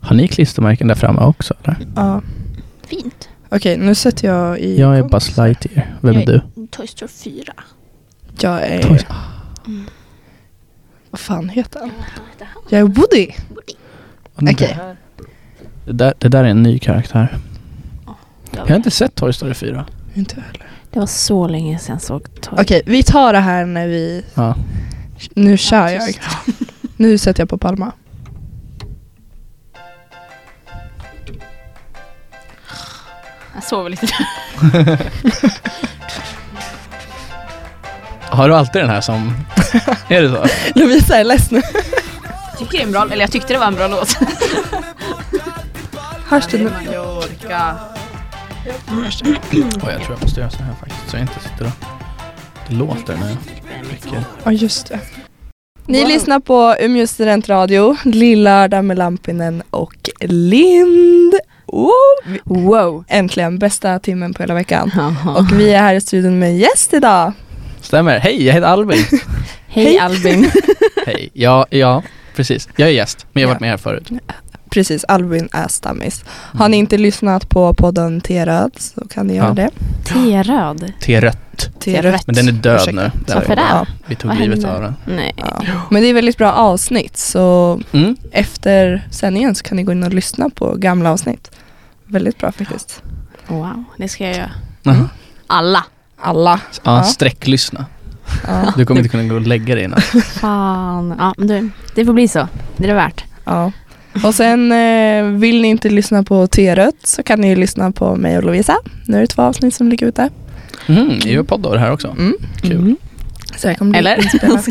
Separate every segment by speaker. Speaker 1: Har ni klistermärken där framme också? Eller?
Speaker 2: Ja.
Speaker 3: Fint.
Speaker 2: Okej, nu sätter jag i...
Speaker 1: Jag är Buzz Lightyear. Vem
Speaker 3: Jag
Speaker 1: är du?
Speaker 3: Toy Story 4.
Speaker 2: Jag är...
Speaker 1: Toys.
Speaker 2: Vad fan heter han?
Speaker 3: Vad fan heter han?
Speaker 2: Jag är Woody.
Speaker 3: Woody.
Speaker 1: Det-
Speaker 2: Okej.
Speaker 1: Det, där, det där är en ny karaktär.
Speaker 3: Jag
Speaker 1: Jag har
Speaker 3: vet.
Speaker 1: inte sett Toy Story 4.
Speaker 2: Inte jag heller.
Speaker 4: Det var så länge sedan jag såg Toy.
Speaker 2: Okej, vi tar det här när vi...
Speaker 1: Ja.
Speaker 2: Nu kör jag.
Speaker 3: tyst.
Speaker 2: Nu sätter jag på Palma.
Speaker 3: Jag sover lite.
Speaker 1: Har du alltid den här som... är det så?
Speaker 2: Lovisa är ledsen.
Speaker 3: Jag tycker det är en bra, eller jag tyckte det var en bra låt.
Speaker 2: Hörs det nu?
Speaker 3: Mallorca.
Speaker 1: Oj, jag tror jag måste göra så här faktiskt så jag inte sitter och... Det låter när jag trycker.
Speaker 2: Ja, just det. Ni lyssnar på Umeå studentradio, Lillördag med Lampinen och Lind. Oh,
Speaker 4: Wow.
Speaker 2: äntligen, bästa timmen på hela veckan.
Speaker 4: Jaha.
Speaker 2: Och vi är här i studion med en gäst idag.
Speaker 1: Stämmer. Hej, jag heter Albin.
Speaker 4: Hej,
Speaker 2: Hej.
Speaker 4: Albin.
Speaker 1: Hej. Ja, ja, precis. Jag är gäst, men jag har varit med här förut.
Speaker 2: Precis, Albin är stammis. Mm. Har ni inte lyssnat på podden T-röd så kan ni göra
Speaker 1: Mm. Ja.
Speaker 2: det.
Speaker 4: T-röd.
Speaker 1: T-rött.
Speaker 4: T-rött.
Speaker 1: Men den är död
Speaker 2: Ursäkta.
Speaker 1: nu. Den-
Speaker 4: Varför det?
Speaker 2: Ja,
Speaker 1: Vi tog
Speaker 4: Vad
Speaker 1: livet
Speaker 4: hände?
Speaker 1: av den.
Speaker 4: Nej.
Speaker 2: ja. Men det är väldigt bra avsnitt så
Speaker 1: Mm.
Speaker 2: efter sändningen så kan ni gå in och lyssna på gamla avsnitt. Väldigt bra faktiskt.
Speaker 4: Wow, det ska jag göra.
Speaker 1: Jaha.
Speaker 4: Alla.
Speaker 2: Alla.
Speaker 1: Ja,
Speaker 2: Ja.
Speaker 1: Mm. sträcklyssna.
Speaker 2: Ja.
Speaker 1: Du kommer inte kunna gå och lägga dig innan.
Speaker 4: Fan. Ja, men du, det får bli så. Det är det värt.
Speaker 2: Ja. Och sen eh, vill ni inte lyssna på T-rött så kan ni ju lyssna på mig och Lovisa. Nu är det två avsnitt som ligger ute.
Speaker 1: Mm, jag gör podd av det här också.
Speaker 2: Mm.
Speaker 1: Kul.
Speaker 2: Så det här kommer bli
Speaker 4: Eller?
Speaker 2: inspelat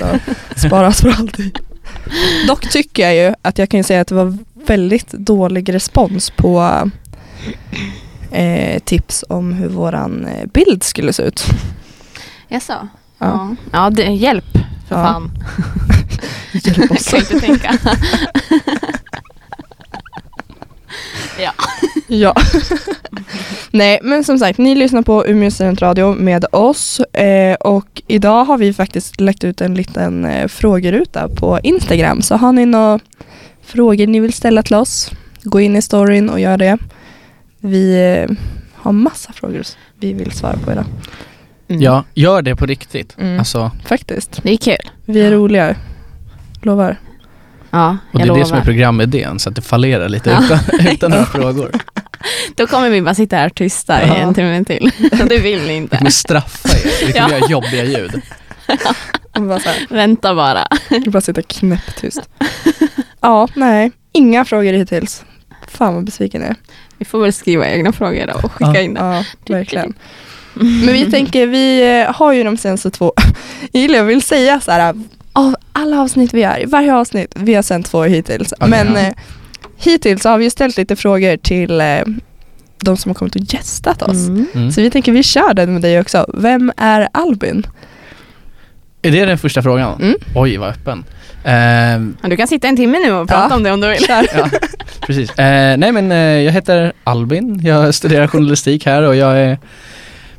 Speaker 2: och sparas för alltid. Dock tycker jag ju att jag kan ju säga att det var väldigt dålig respons på eh, tips om hur våran eh, bild skulle se ut.
Speaker 3: Jag sa.
Speaker 2: Ja.
Speaker 4: Ja, ja det, hjälp för
Speaker 2: Ja.
Speaker 4: fan.
Speaker 2: Hjälp
Speaker 3: Jag
Speaker 2: oss.
Speaker 3: kan inte tänka.
Speaker 2: Ja. Nej, men som sagt, ni lyssnar på Umeå studentradio med oss eh, och idag har vi faktiskt lagt ut en liten eh, frågeruta på Instagram. Så har ni några frågor ni vill ställa till oss, gå in i storyn och gör det. Vi eh, har massa frågor s- vi vill svara på idag.
Speaker 4: Mm.
Speaker 1: Ja, gör det på riktigt.
Speaker 2: Mm.
Speaker 1: Alltså,
Speaker 2: Faktiskt.
Speaker 4: Det är kul.
Speaker 2: Vi är roliga. Lovar.
Speaker 4: Ja,
Speaker 1: och det
Speaker 4: jag
Speaker 1: är
Speaker 4: lovar.
Speaker 1: det som är programidén, så att det fallerar lite
Speaker 4: Ja.
Speaker 1: utan, utan några frågor.
Speaker 4: Då kommer vi bara sitta här tysta
Speaker 1: Ja.
Speaker 4: i en timme till. Det vill ni
Speaker 1: Vi
Speaker 4: inte.
Speaker 1: kommer straffa er, vi kommer
Speaker 4: Ja.
Speaker 1: göra jobbiga ljud.
Speaker 2: Och bara så här,
Speaker 4: Vänta bara.
Speaker 2: jag bara sitta knäpptyst. Ja, nej. Inga frågor hittills. Fan vad besviken jag är.
Speaker 4: Vi får väl skriva egna frågor då och skicka
Speaker 1: Ja.
Speaker 4: in dem.
Speaker 2: Ja, verkligen. Men vi tänker, vi eh, har ju de senaste två, jag gillar, jag vill säga så här, eh, av alla avsnitt vi gör, i varje avsnitt, vi har sänt två hittills.
Speaker 1: Okej,
Speaker 2: Men
Speaker 1: ja.
Speaker 2: eh, hittills har vi ju ställt lite frågor till eh, de som har kommit och gästat oss.
Speaker 4: Mm.
Speaker 1: Mm.
Speaker 2: Så vi tänker vi kör den med dig också. Vem är Albin?
Speaker 1: Är det den första frågan?
Speaker 2: Mm.
Speaker 1: Oj, vad öppen. Ehm,
Speaker 4: Ja, Du kan sitta en timme nu och prata
Speaker 2: Ja.
Speaker 4: om det om du vill.
Speaker 2: Kör.
Speaker 1: ja, precis. Eh, nej men eh, jag heter Albin, jag studerar journalistik här och jag är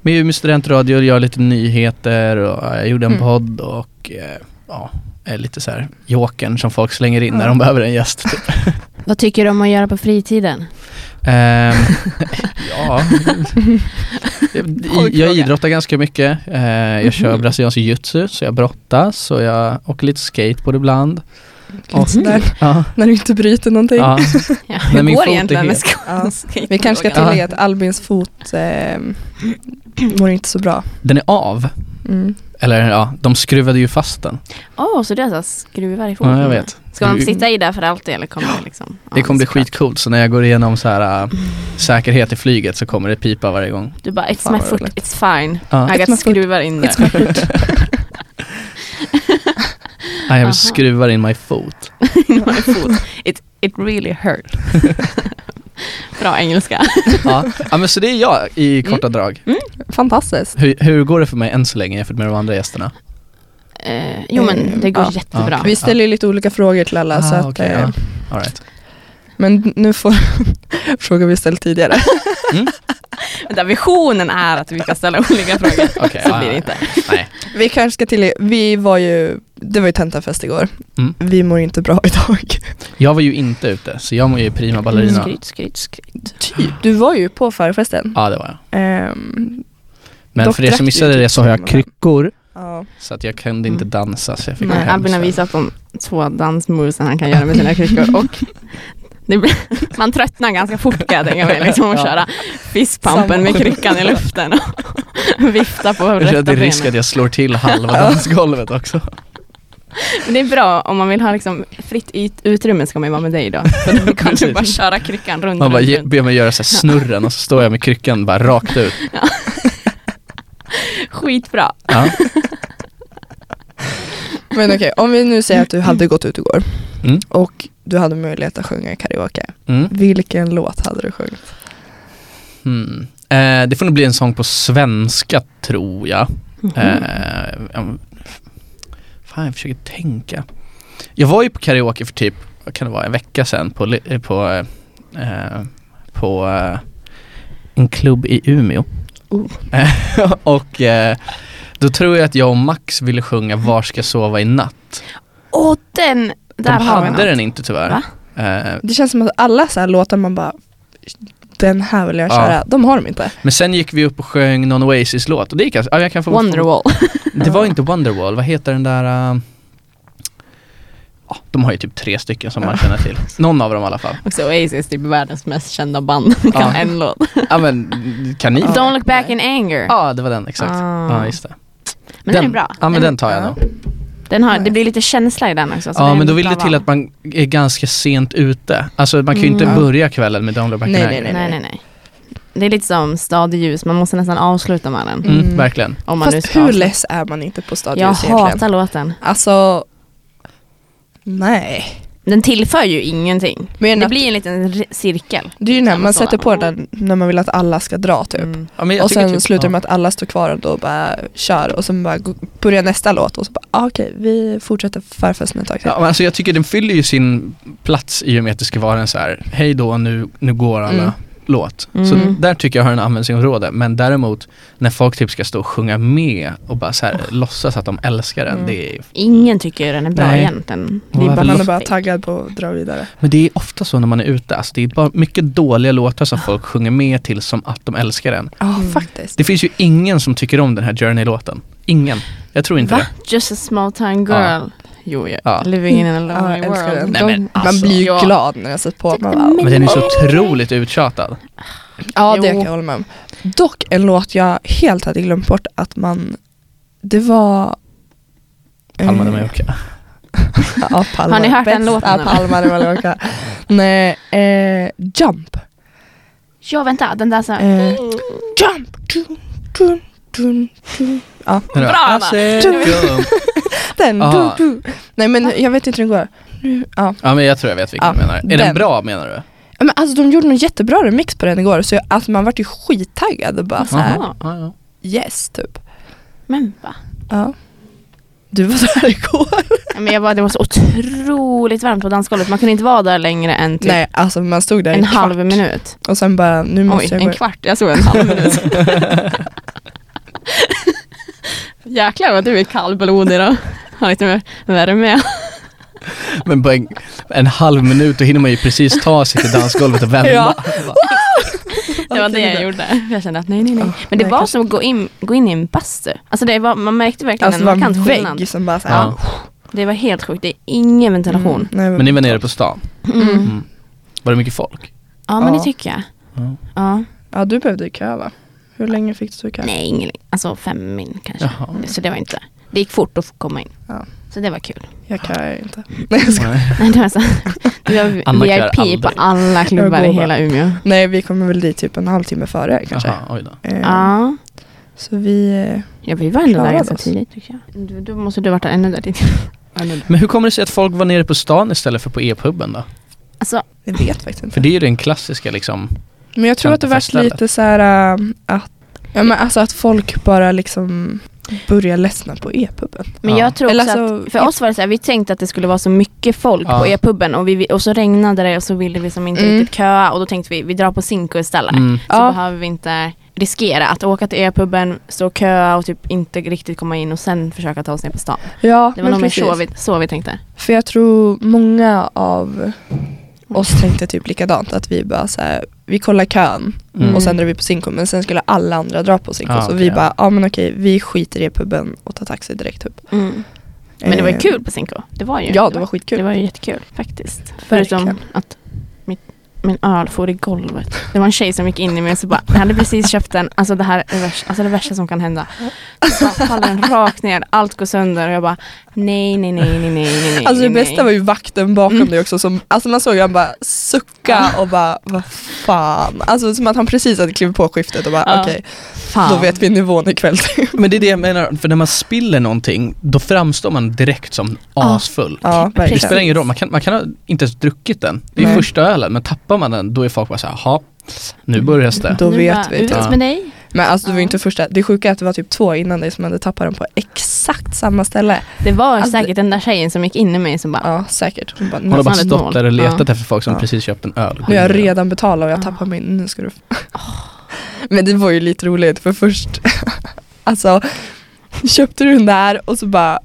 Speaker 1: med i Umeå studentradio och gör lite nyheter och eh, jag gjorde en
Speaker 2: Mm.
Speaker 1: podd och eh, ja, är lite så här jokern som folk slänger in när
Speaker 2: Ja.
Speaker 1: de behöver en gäst. Typ.
Speaker 4: Vad tycker du om att göra på fritiden?
Speaker 1: Ehm, ja, jag, jag
Speaker 4: fråga.
Speaker 1: idrottar ganska mycket. Eh, jag kör
Speaker 4: Mhm.
Speaker 1: brasiliansk jujutsu så jag brottas och jag åker lite skateboard ibland.
Speaker 2: Och När,
Speaker 1: Ja,
Speaker 2: när du inte bryter någonting.
Speaker 1: ja.
Speaker 4: Ja,
Speaker 1: Nej,
Speaker 4: hur
Speaker 1: min
Speaker 4: går
Speaker 1: fot
Speaker 4: det
Speaker 1: är
Speaker 4: egentligen med
Speaker 1: het.
Speaker 2: Ja.
Speaker 4: skolan?
Speaker 2: Vi kanske ska
Speaker 1: Ja.
Speaker 2: tillägga att Albins fot eh, mår inte så bra.
Speaker 1: Den är av,
Speaker 2: Mm.
Speaker 1: eller ja, de skruvade ju fast den.
Speaker 4: Åh, så du har så här skruvar i foten?
Speaker 1: Ja, jag vet.
Speaker 4: Ska man
Speaker 1: Du-
Speaker 4: sitta i där för alltid eller kommer det liksom? Ja,
Speaker 1: Det kommer bli
Speaker 4: såklart.
Speaker 1: skitcoolt så när jag går igenom så här
Speaker 4: Mm.
Speaker 1: äh, säkerhet i flyget så kommer det pipa varje gång.
Speaker 4: Du bara, it's
Speaker 2: Fan,
Speaker 4: my
Speaker 2: vad
Speaker 4: foot,
Speaker 2: roligt.
Speaker 4: it's fine.
Speaker 1: Ja,
Speaker 4: I
Speaker 2: It's my
Speaker 4: got
Speaker 2: foot.
Speaker 4: skruvar in
Speaker 2: It's
Speaker 4: där.
Speaker 1: ja, jag
Speaker 4: aha.
Speaker 1: vill skruva in my fot.
Speaker 4: in my foot. It, it really hurt. Bra engelska.
Speaker 1: Ja. ja, men så det är jag i korta
Speaker 4: Mm.
Speaker 1: drag.
Speaker 2: Fantastiskt.
Speaker 1: Hur, hur går det för mig än så länge jämfört med de andra gästerna?
Speaker 4: Eh, jo men det går
Speaker 2: Ja.
Speaker 4: jättebra.
Speaker 1: Ja,
Speaker 2: Vi ställer ju lite olika frågor till alla. så att,
Speaker 1: Ah, okej,
Speaker 2: eh,
Speaker 1: ja. All right.
Speaker 2: Men nu får frågor vi ställt tidigare.
Speaker 4: Vänta, visionen är att vi kan ställa olika frågor.
Speaker 1: Okej,
Speaker 4: så
Speaker 1: ja,
Speaker 4: blir det
Speaker 1: ja,
Speaker 4: inte.
Speaker 1: Nej.
Speaker 2: Vi kanske ska till vi var ju det var ju tentafest igår.
Speaker 1: Mm.
Speaker 2: Vi mår inte bra idag.
Speaker 1: Jag var ju inte ute, så jag mår ju prima ballerina.
Speaker 4: Skryt, skryt, skryt.
Speaker 2: Typ. Du var ju på förfesten.
Speaker 1: Ja, det var jag.
Speaker 2: Ehm,
Speaker 1: Men
Speaker 2: Dock
Speaker 1: för er
Speaker 2: drack
Speaker 1: som
Speaker 2: du
Speaker 1: missade
Speaker 2: typ
Speaker 1: det så har jag
Speaker 2: samma.
Speaker 1: kryckor,
Speaker 2: ja.
Speaker 1: så att jag kunde inte
Speaker 4: Mm.
Speaker 1: dansa så jag fick gå
Speaker 4: Nej,
Speaker 1: hem.
Speaker 4: Albin har
Speaker 1: sen.
Speaker 4: visat de två dansmovesen han kan göra med sina kryckor och det blir, man tröttnar ganska fort kan jag tänka mig liksom att
Speaker 1: Ja.
Speaker 4: köra fistpumpen med kryckan i luften och vifta på
Speaker 1: Jag känner att
Speaker 4: rätta
Speaker 1: det är risk att
Speaker 4: benet.
Speaker 1: jag slår till halva dansgolvet också.
Speaker 4: Men det är bra om man vill ha liksom fritt yt- utrymme ska man ju vara med dig då. För då kan du
Speaker 1: Precis.
Speaker 4: bara köra kryckan runt
Speaker 1: Man bara
Speaker 4: runt,
Speaker 1: ge-
Speaker 4: runt.
Speaker 1: ber mig göra så här snurren och så står jag med kryckan bara rakt ut.
Speaker 4: Skitbra.
Speaker 1: Ja.
Speaker 2: Men okej, om vi nu säger att du hade gått ut igår
Speaker 1: Mm.
Speaker 2: och du hade möjlighet att sjunga karaoke.
Speaker 1: Mm.
Speaker 2: Vilken låt hade du sjungit?
Speaker 1: Mm. Eh, det får nog bli en sång på svenska tror jag.
Speaker 4: Mm.
Speaker 1: Eh, om- fan, jag försöker tänka. Jag var ju på karaoke för typ, vad kan det vara, en vecka sedan på, li- eh, på, eh, på eh, en klubb i Umeå.
Speaker 2: Oh.
Speaker 1: Eh, och eh, då tror jag att jag och Max ville sjunga Var ska jag sova i natt.
Speaker 4: Och den,
Speaker 1: De
Speaker 4: där har vi
Speaker 1: hade
Speaker 4: något.
Speaker 1: den inte tyvärr.
Speaker 4: Va?
Speaker 1: Eh,
Speaker 2: Det känns som att alla så här låtar man bara den här vill jag
Speaker 1: Ja.
Speaker 2: köra, de har de inte.
Speaker 1: men sen gick vi upp och sjöng någon Oasis-låt och det gick alltså, ja, jag kan få
Speaker 4: Wonderwall.
Speaker 1: Det var inte Wonderwall, vad heter den där... eh, ja, de har ju typ tre stycken som man känner till. Någon av dem i alla fall.
Speaker 4: Också Oasis, typ världens mest kända band. Kan
Speaker 1: Ja.
Speaker 4: en låt.
Speaker 1: Ja men, kan ni?
Speaker 4: Don't look back in anger.
Speaker 1: Ja, det var den, exakt.
Speaker 4: Ah.
Speaker 1: Ja, just det.
Speaker 4: Men den, är bra.
Speaker 1: Ja, men den tar jag
Speaker 2: ja.
Speaker 1: då.
Speaker 4: Den har, det blir lite känsla i Alltså, den också. så det
Speaker 1: Ja,
Speaker 4: är
Speaker 1: men
Speaker 4: en
Speaker 1: då vill
Speaker 4: bra
Speaker 1: det till
Speaker 4: val.
Speaker 1: att man är ganska sent ute. Alltså man kan ju inte
Speaker 4: Mm.
Speaker 1: börja kvällen med Don't look back
Speaker 2: Nej,
Speaker 1: in
Speaker 2: nej,
Speaker 1: anger.
Speaker 4: Nej, nej, nej. Det är lite som stadig ljus, man måste nästan avsluta med den.
Speaker 1: Mm,
Speaker 2: Mm.
Speaker 1: Verkligen.
Speaker 4: Om man nu
Speaker 2: Fast
Speaker 4: ska
Speaker 2: hur
Speaker 4: avsluta.
Speaker 2: less är man inte på
Speaker 4: Jag
Speaker 2: stadius egentligen?
Speaker 4: hatar låten.
Speaker 2: Alltså, nej.
Speaker 4: Den tillför ju ingenting.
Speaker 2: Men
Speaker 4: Det blir en liten r- cirkel.
Speaker 2: det är ju när
Speaker 4: samma
Speaker 2: man
Speaker 4: sak.
Speaker 2: sätter på den när man vill att alla ska dra typ.
Speaker 4: Mm.
Speaker 1: Ja, men jag
Speaker 2: Och
Speaker 1: tycker
Speaker 2: sen
Speaker 1: typ-
Speaker 2: slutar det
Speaker 1: ja.
Speaker 2: med att alla står kvar och då bara kör och sen bara gå- börjar nästa låt och så bara ah, okej vi fortsätter förfesten ett tag till.
Speaker 1: Ja, men alltså jag tycker den fyller ju sin plats i och med att det ska vara en så här, hej då nu, nu går alla
Speaker 2: Mm.
Speaker 1: låt. Så
Speaker 4: Mm.
Speaker 1: där tycker jag har en användningsområde. Men däremot när folk typ ska stå och sjunga med och bara så här, låtsas att de älskar den.
Speaker 2: Oh. Mm.
Speaker 1: Det är,
Speaker 4: Ingen tycker ju den är bra
Speaker 1: Nej.
Speaker 4: egentligen. Det
Speaker 1: Och
Speaker 4: är
Speaker 1: varför
Speaker 2: Man
Speaker 4: bara
Speaker 2: är bara
Speaker 4: fake.
Speaker 2: taggad på att dra vidare.
Speaker 1: men det är ofta så när man är ute, alltså det är bara mycket dåliga låtar
Speaker 2: Oh.
Speaker 1: som folk sjunger med till som att de älskar den.
Speaker 2: Ja
Speaker 4: Mm.
Speaker 2: faktiskt.
Speaker 1: Det finns ju ingen som tycker om den här Journey-låten. Ingen. Jag tror inte
Speaker 4: Va?
Speaker 1: det.
Speaker 4: Just a small time girl. Jo, ja.
Speaker 1: Ja.
Speaker 4: Living in a
Speaker 2: Ja,
Speaker 4: lonely
Speaker 2: jag älskar
Speaker 4: world.
Speaker 2: den.
Speaker 1: Nej, men
Speaker 2: man
Speaker 1: alltså.
Speaker 2: blir ju
Speaker 4: Ja.
Speaker 2: glad när jag sätter på. Man bara,
Speaker 1: Men den är så otroligt uttjatad.
Speaker 2: ja det
Speaker 4: Jo.
Speaker 2: kan jag hålla med om. Dock en låt jag helt hade glömt bort att man, det var
Speaker 1: Palma de
Speaker 2: Eh,
Speaker 1: Mallorca.
Speaker 2: Ja, Palma.
Speaker 4: Har ni hört
Speaker 2: Bästa
Speaker 4: den låten, eller?
Speaker 2: Palma de Mallorca. Nej, eh, Jump.
Speaker 4: Ja, vänta. Den där så här.
Speaker 2: Eh, jump! Dun, dun, dun, dun. Ja,
Speaker 1: Den där,
Speaker 4: Bra, Anna.
Speaker 1: "Hasse, gum."
Speaker 2: den.
Speaker 1: Aha.
Speaker 2: Dun, dun. Nej men jag vet inte hur den går. Nu- Ja.
Speaker 1: Ja men jag tror jag vet vilken
Speaker 2: Ja,
Speaker 1: du menar. Är den.
Speaker 2: den.
Speaker 1: bra menar du?
Speaker 2: Ja, Men alltså de gjorde en jättebra remix på den igår så jag, alltså, man vart ju skittaggad och bara såhär
Speaker 1: Jaha, ja, ja.
Speaker 2: yes typ.
Speaker 4: Men va?
Speaker 2: Ja. Du var där igår. typ.
Speaker 4: Ja, Men jag bara, det var så otroligt varmt på dansgolvet. Man kunde inte vara där längre än typ
Speaker 2: Nej alltså man stod där i
Speaker 4: en
Speaker 2: kvart.
Speaker 4: halv minut.
Speaker 2: och sen bara nu måste
Speaker 4: Oj,
Speaker 2: jag
Speaker 4: en
Speaker 2: gå.
Speaker 4: kvart. Jag såg en halv minut. Jäklar vad du är kallblodig då. Har lite mer värme.
Speaker 1: Men på en, en halv minut då hinner man ju precis ta sig till dansgolvet och vända.
Speaker 2: Ja.
Speaker 4: Det var det jag gjorde. Jag kände att nej, nej, nej.
Speaker 2: Ah,
Speaker 4: Men det
Speaker 2: nej,
Speaker 4: var
Speaker 2: kanske.
Speaker 4: som att gå in, gå in i en bastu. Alltså det var, man märkte verkligen
Speaker 2: Alltså det var
Speaker 4: en
Speaker 2: en
Speaker 4: markant skillnad.
Speaker 2: vägg som bara såhär.
Speaker 1: Ja.
Speaker 4: Det var helt sjukt. Det är ingen ventilation.
Speaker 2: Nej,
Speaker 1: Men ni var nere på stan?
Speaker 4: Mm.
Speaker 1: Mm. Var det mycket folk?
Speaker 4: Ja, men
Speaker 2: Ja.
Speaker 4: det tycker jag.
Speaker 1: Ja.
Speaker 4: Ja.
Speaker 2: Ja du behövde ju kö va? Hur länge fick du stå i kö?
Speaker 4: Nej, ingen, alltså fem min kanske.
Speaker 1: Jaha.
Speaker 4: Så det var inte. Det gick fort att få komma in.
Speaker 2: Ja.
Speaker 4: Så det var kul.
Speaker 2: Jag köar ju inte. Nej jag skojar.
Speaker 1: Nej.
Speaker 4: Nej, det var så. Du har
Speaker 1: Anna kör
Speaker 4: VIP på
Speaker 1: aldrig.
Speaker 4: alla klubbar
Speaker 2: Jag
Speaker 4: i
Speaker 2: går bara.
Speaker 4: hela Umeå.
Speaker 2: Nej vi kommer väl dit typ en halvtimme före kanske.
Speaker 1: Jaha, oj då.
Speaker 2: Eh,
Speaker 4: Ja.
Speaker 2: Så vi... eh,
Speaker 4: ja, vi var ändå där
Speaker 2: Klarade
Speaker 4: ganska
Speaker 2: oss.
Speaker 4: tidigt tycker jag. Du, då måste du varit där ännu där tidigt.
Speaker 1: Men hur kommer det sig att folk var nere på stan istället för på e-puben då?
Speaker 4: Alltså,
Speaker 2: Jag vet faktiskt inte.
Speaker 1: För det är ju den klassiska liksom.
Speaker 2: men jag tror att det varit
Speaker 1: Feststället.
Speaker 2: lite så här ähm, att, ja, men alltså att folk bara liksom börjar ledsna på e-puben.
Speaker 4: men
Speaker 1: Ja.
Speaker 4: jag tror
Speaker 2: Eller
Speaker 4: också
Speaker 2: alltså-
Speaker 4: att, för oss var det så här, vi tänkte att det skulle vara så mycket folk
Speaker 1: Ja.
Speaker 4: på e-puben och, vi, vi- och så regnade det och så ville vi som inte
Speaker 2: Mm.
Speaker 4: riktigt köa och då tänkte vi, vi drar på Zinco istället.
Speaker 1: Mm.
Speaker 4: Så
Speaker 2: Ja.
Speaker 4: behöver vi inte riskera att åka till e-puben, stå och köa och typ inte riktigt komma in och sen försöka ta oss ner på stan.
Speaker 2: Ja,
Speaker 4: Det var
Speaker 2: men
Speaker 4: nog mer
Speaker 2: precis.
Speaker 4: så vi, så vi tänkte.
Speaker 2: För jag tror många av oss tänkte typ likadant. Att vi bara så här, vi kollar kön
Speaker 1: Mm.
Speaker 2: och sen drar vi på Zinco. Men sen skulle alla andra dra på Zinco.
Speaker 1: Ah,
Speaker 2: så
Speaker 1: okej,
Speaker 2: vi
Speaker 1: ja.
Speaker 2: bara, ja men okej, vi skiter i puben och tar taxi direkt upp.
Speaker 4: Men det var ju
Speaker 2: Mm. Eh,
Speaker 4: kul på Zinco. Det var ju.
Speaker 2: Ja, det var skitkul.
Speaker 4: Det var ju jättekul faktiskt. Förutom
Speaker 2: Verkligen.
Speaker 4: att mitt, min öl for i golvet. Det var en tjej som gick in i mig och så bara, jag hade precis köpt den, alltså det här är det värsta, alltså det värsta som kan hända. Så bara faller den rakt ner, allt går sönder och jag bara, nej, nej, nej, nej, nej, nej, nej.
Speaker 2: Alltså det
Speaker 4: nej.
Speaker 2: bästa var ju vakten bakom
Speaker 4: Mm.
Speaker 2: dig också som, alltså man såg han bara sucka och bara vad fan. Alltså som att han precis hade klivit på skiftet och bara
Speaker 4: Ja.
Speaker 2: okej,
Speaker 4: Fan.
Speaker 2: då vet vi nivån ikväll.
Speaker 1: Men det är det jag menar, för när man spiller någonting, då framstår man direkt som
Speaker 4: Ja.
Speaker 1: asfull.
Speaker 2: ja,
Speaker 1: Det
Speaker 2: verkligen.
Speaker 1: spelar ingen roll, man kan, man kan ha inte ens druckit den. Det är
Speaker 2: Nej.
Speaker 1: första ölen, men tappar man den då är folk bara såhär, jaha, nu börjar det.
Speaker 2: Då
Speaker 4: Nu
Speaker 2: vet
Speaker 4: bara,
Speaker 2: vi
Speaker 4: Ut
Speaker 1: typ.
Speaker 4: med dig.
Speaker 2: Men alltså det var ju
Speaker 4: Ja.
Speaker 2: inte första, det sjuka är att det var typ två innan dig som hade tappat den på exakt samma ställe.
Speaker 4: Det var
Speaker 2: Alltså-
Speaker 4: säkert den där tjejen som gick in i mig som bara,
Speaker 2: Ja säkert. Hon bara,
Speaker 1: Hon har
Speaker 2: nu,
Speaker 1: bara
Speaker 4: Nästan ett
Speaker 1: stått
Speaker 4: mål.
Speaker 1: där och letat efter folk som
Speaker 2: Ja.
Speaker 1: precis köpt en öl.
Speaker 2: nu har jag redan betalat och jag
Speaker 4: Ja. Ah.
Speaker 2: tappar min, nu ska du. Men det var ju lite roligt för först, alltså köpte du den där och så bara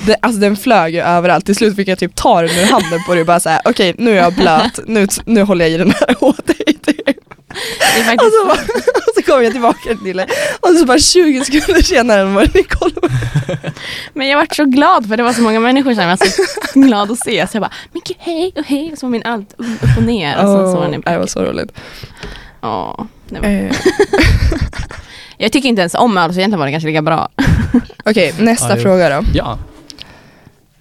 Speaker 2: det, alltså den flög ju överallt, till slut fick jag typ ta den ur handen på dig och bara såhär okej nu är jag blöt, nu, nu håller jag i den här åt dig. typ.
Speaker 4: det är
Speaker 2: Och
Speaker 4: faktiskt,
Speaker 2: så, bara, och Alltså, så kom jag tillbaka till dig och så bara 20 sekunder senare var den i golvet.
Speaker 4: men jag vart så glad för det var så många människor som jag var så glad att se. Så jag bara, men gud hej och hej. Och så var min allt upp och ner. Och sen alltså, så var den i
Speaker 2: det var
Speaker 4: backen.
Speaker 2: så roligt.
Speaker 4: Ja, det var
Speaker 2: Eh,
Speaker 4: Jag tycker inte ens om öl så egentligen var det kanske lika bra.
Speaker 2: Okej, nästa
Speaker 1: Ja, jo.
Speaker 2: fråga då.
Speaker 1: Ja,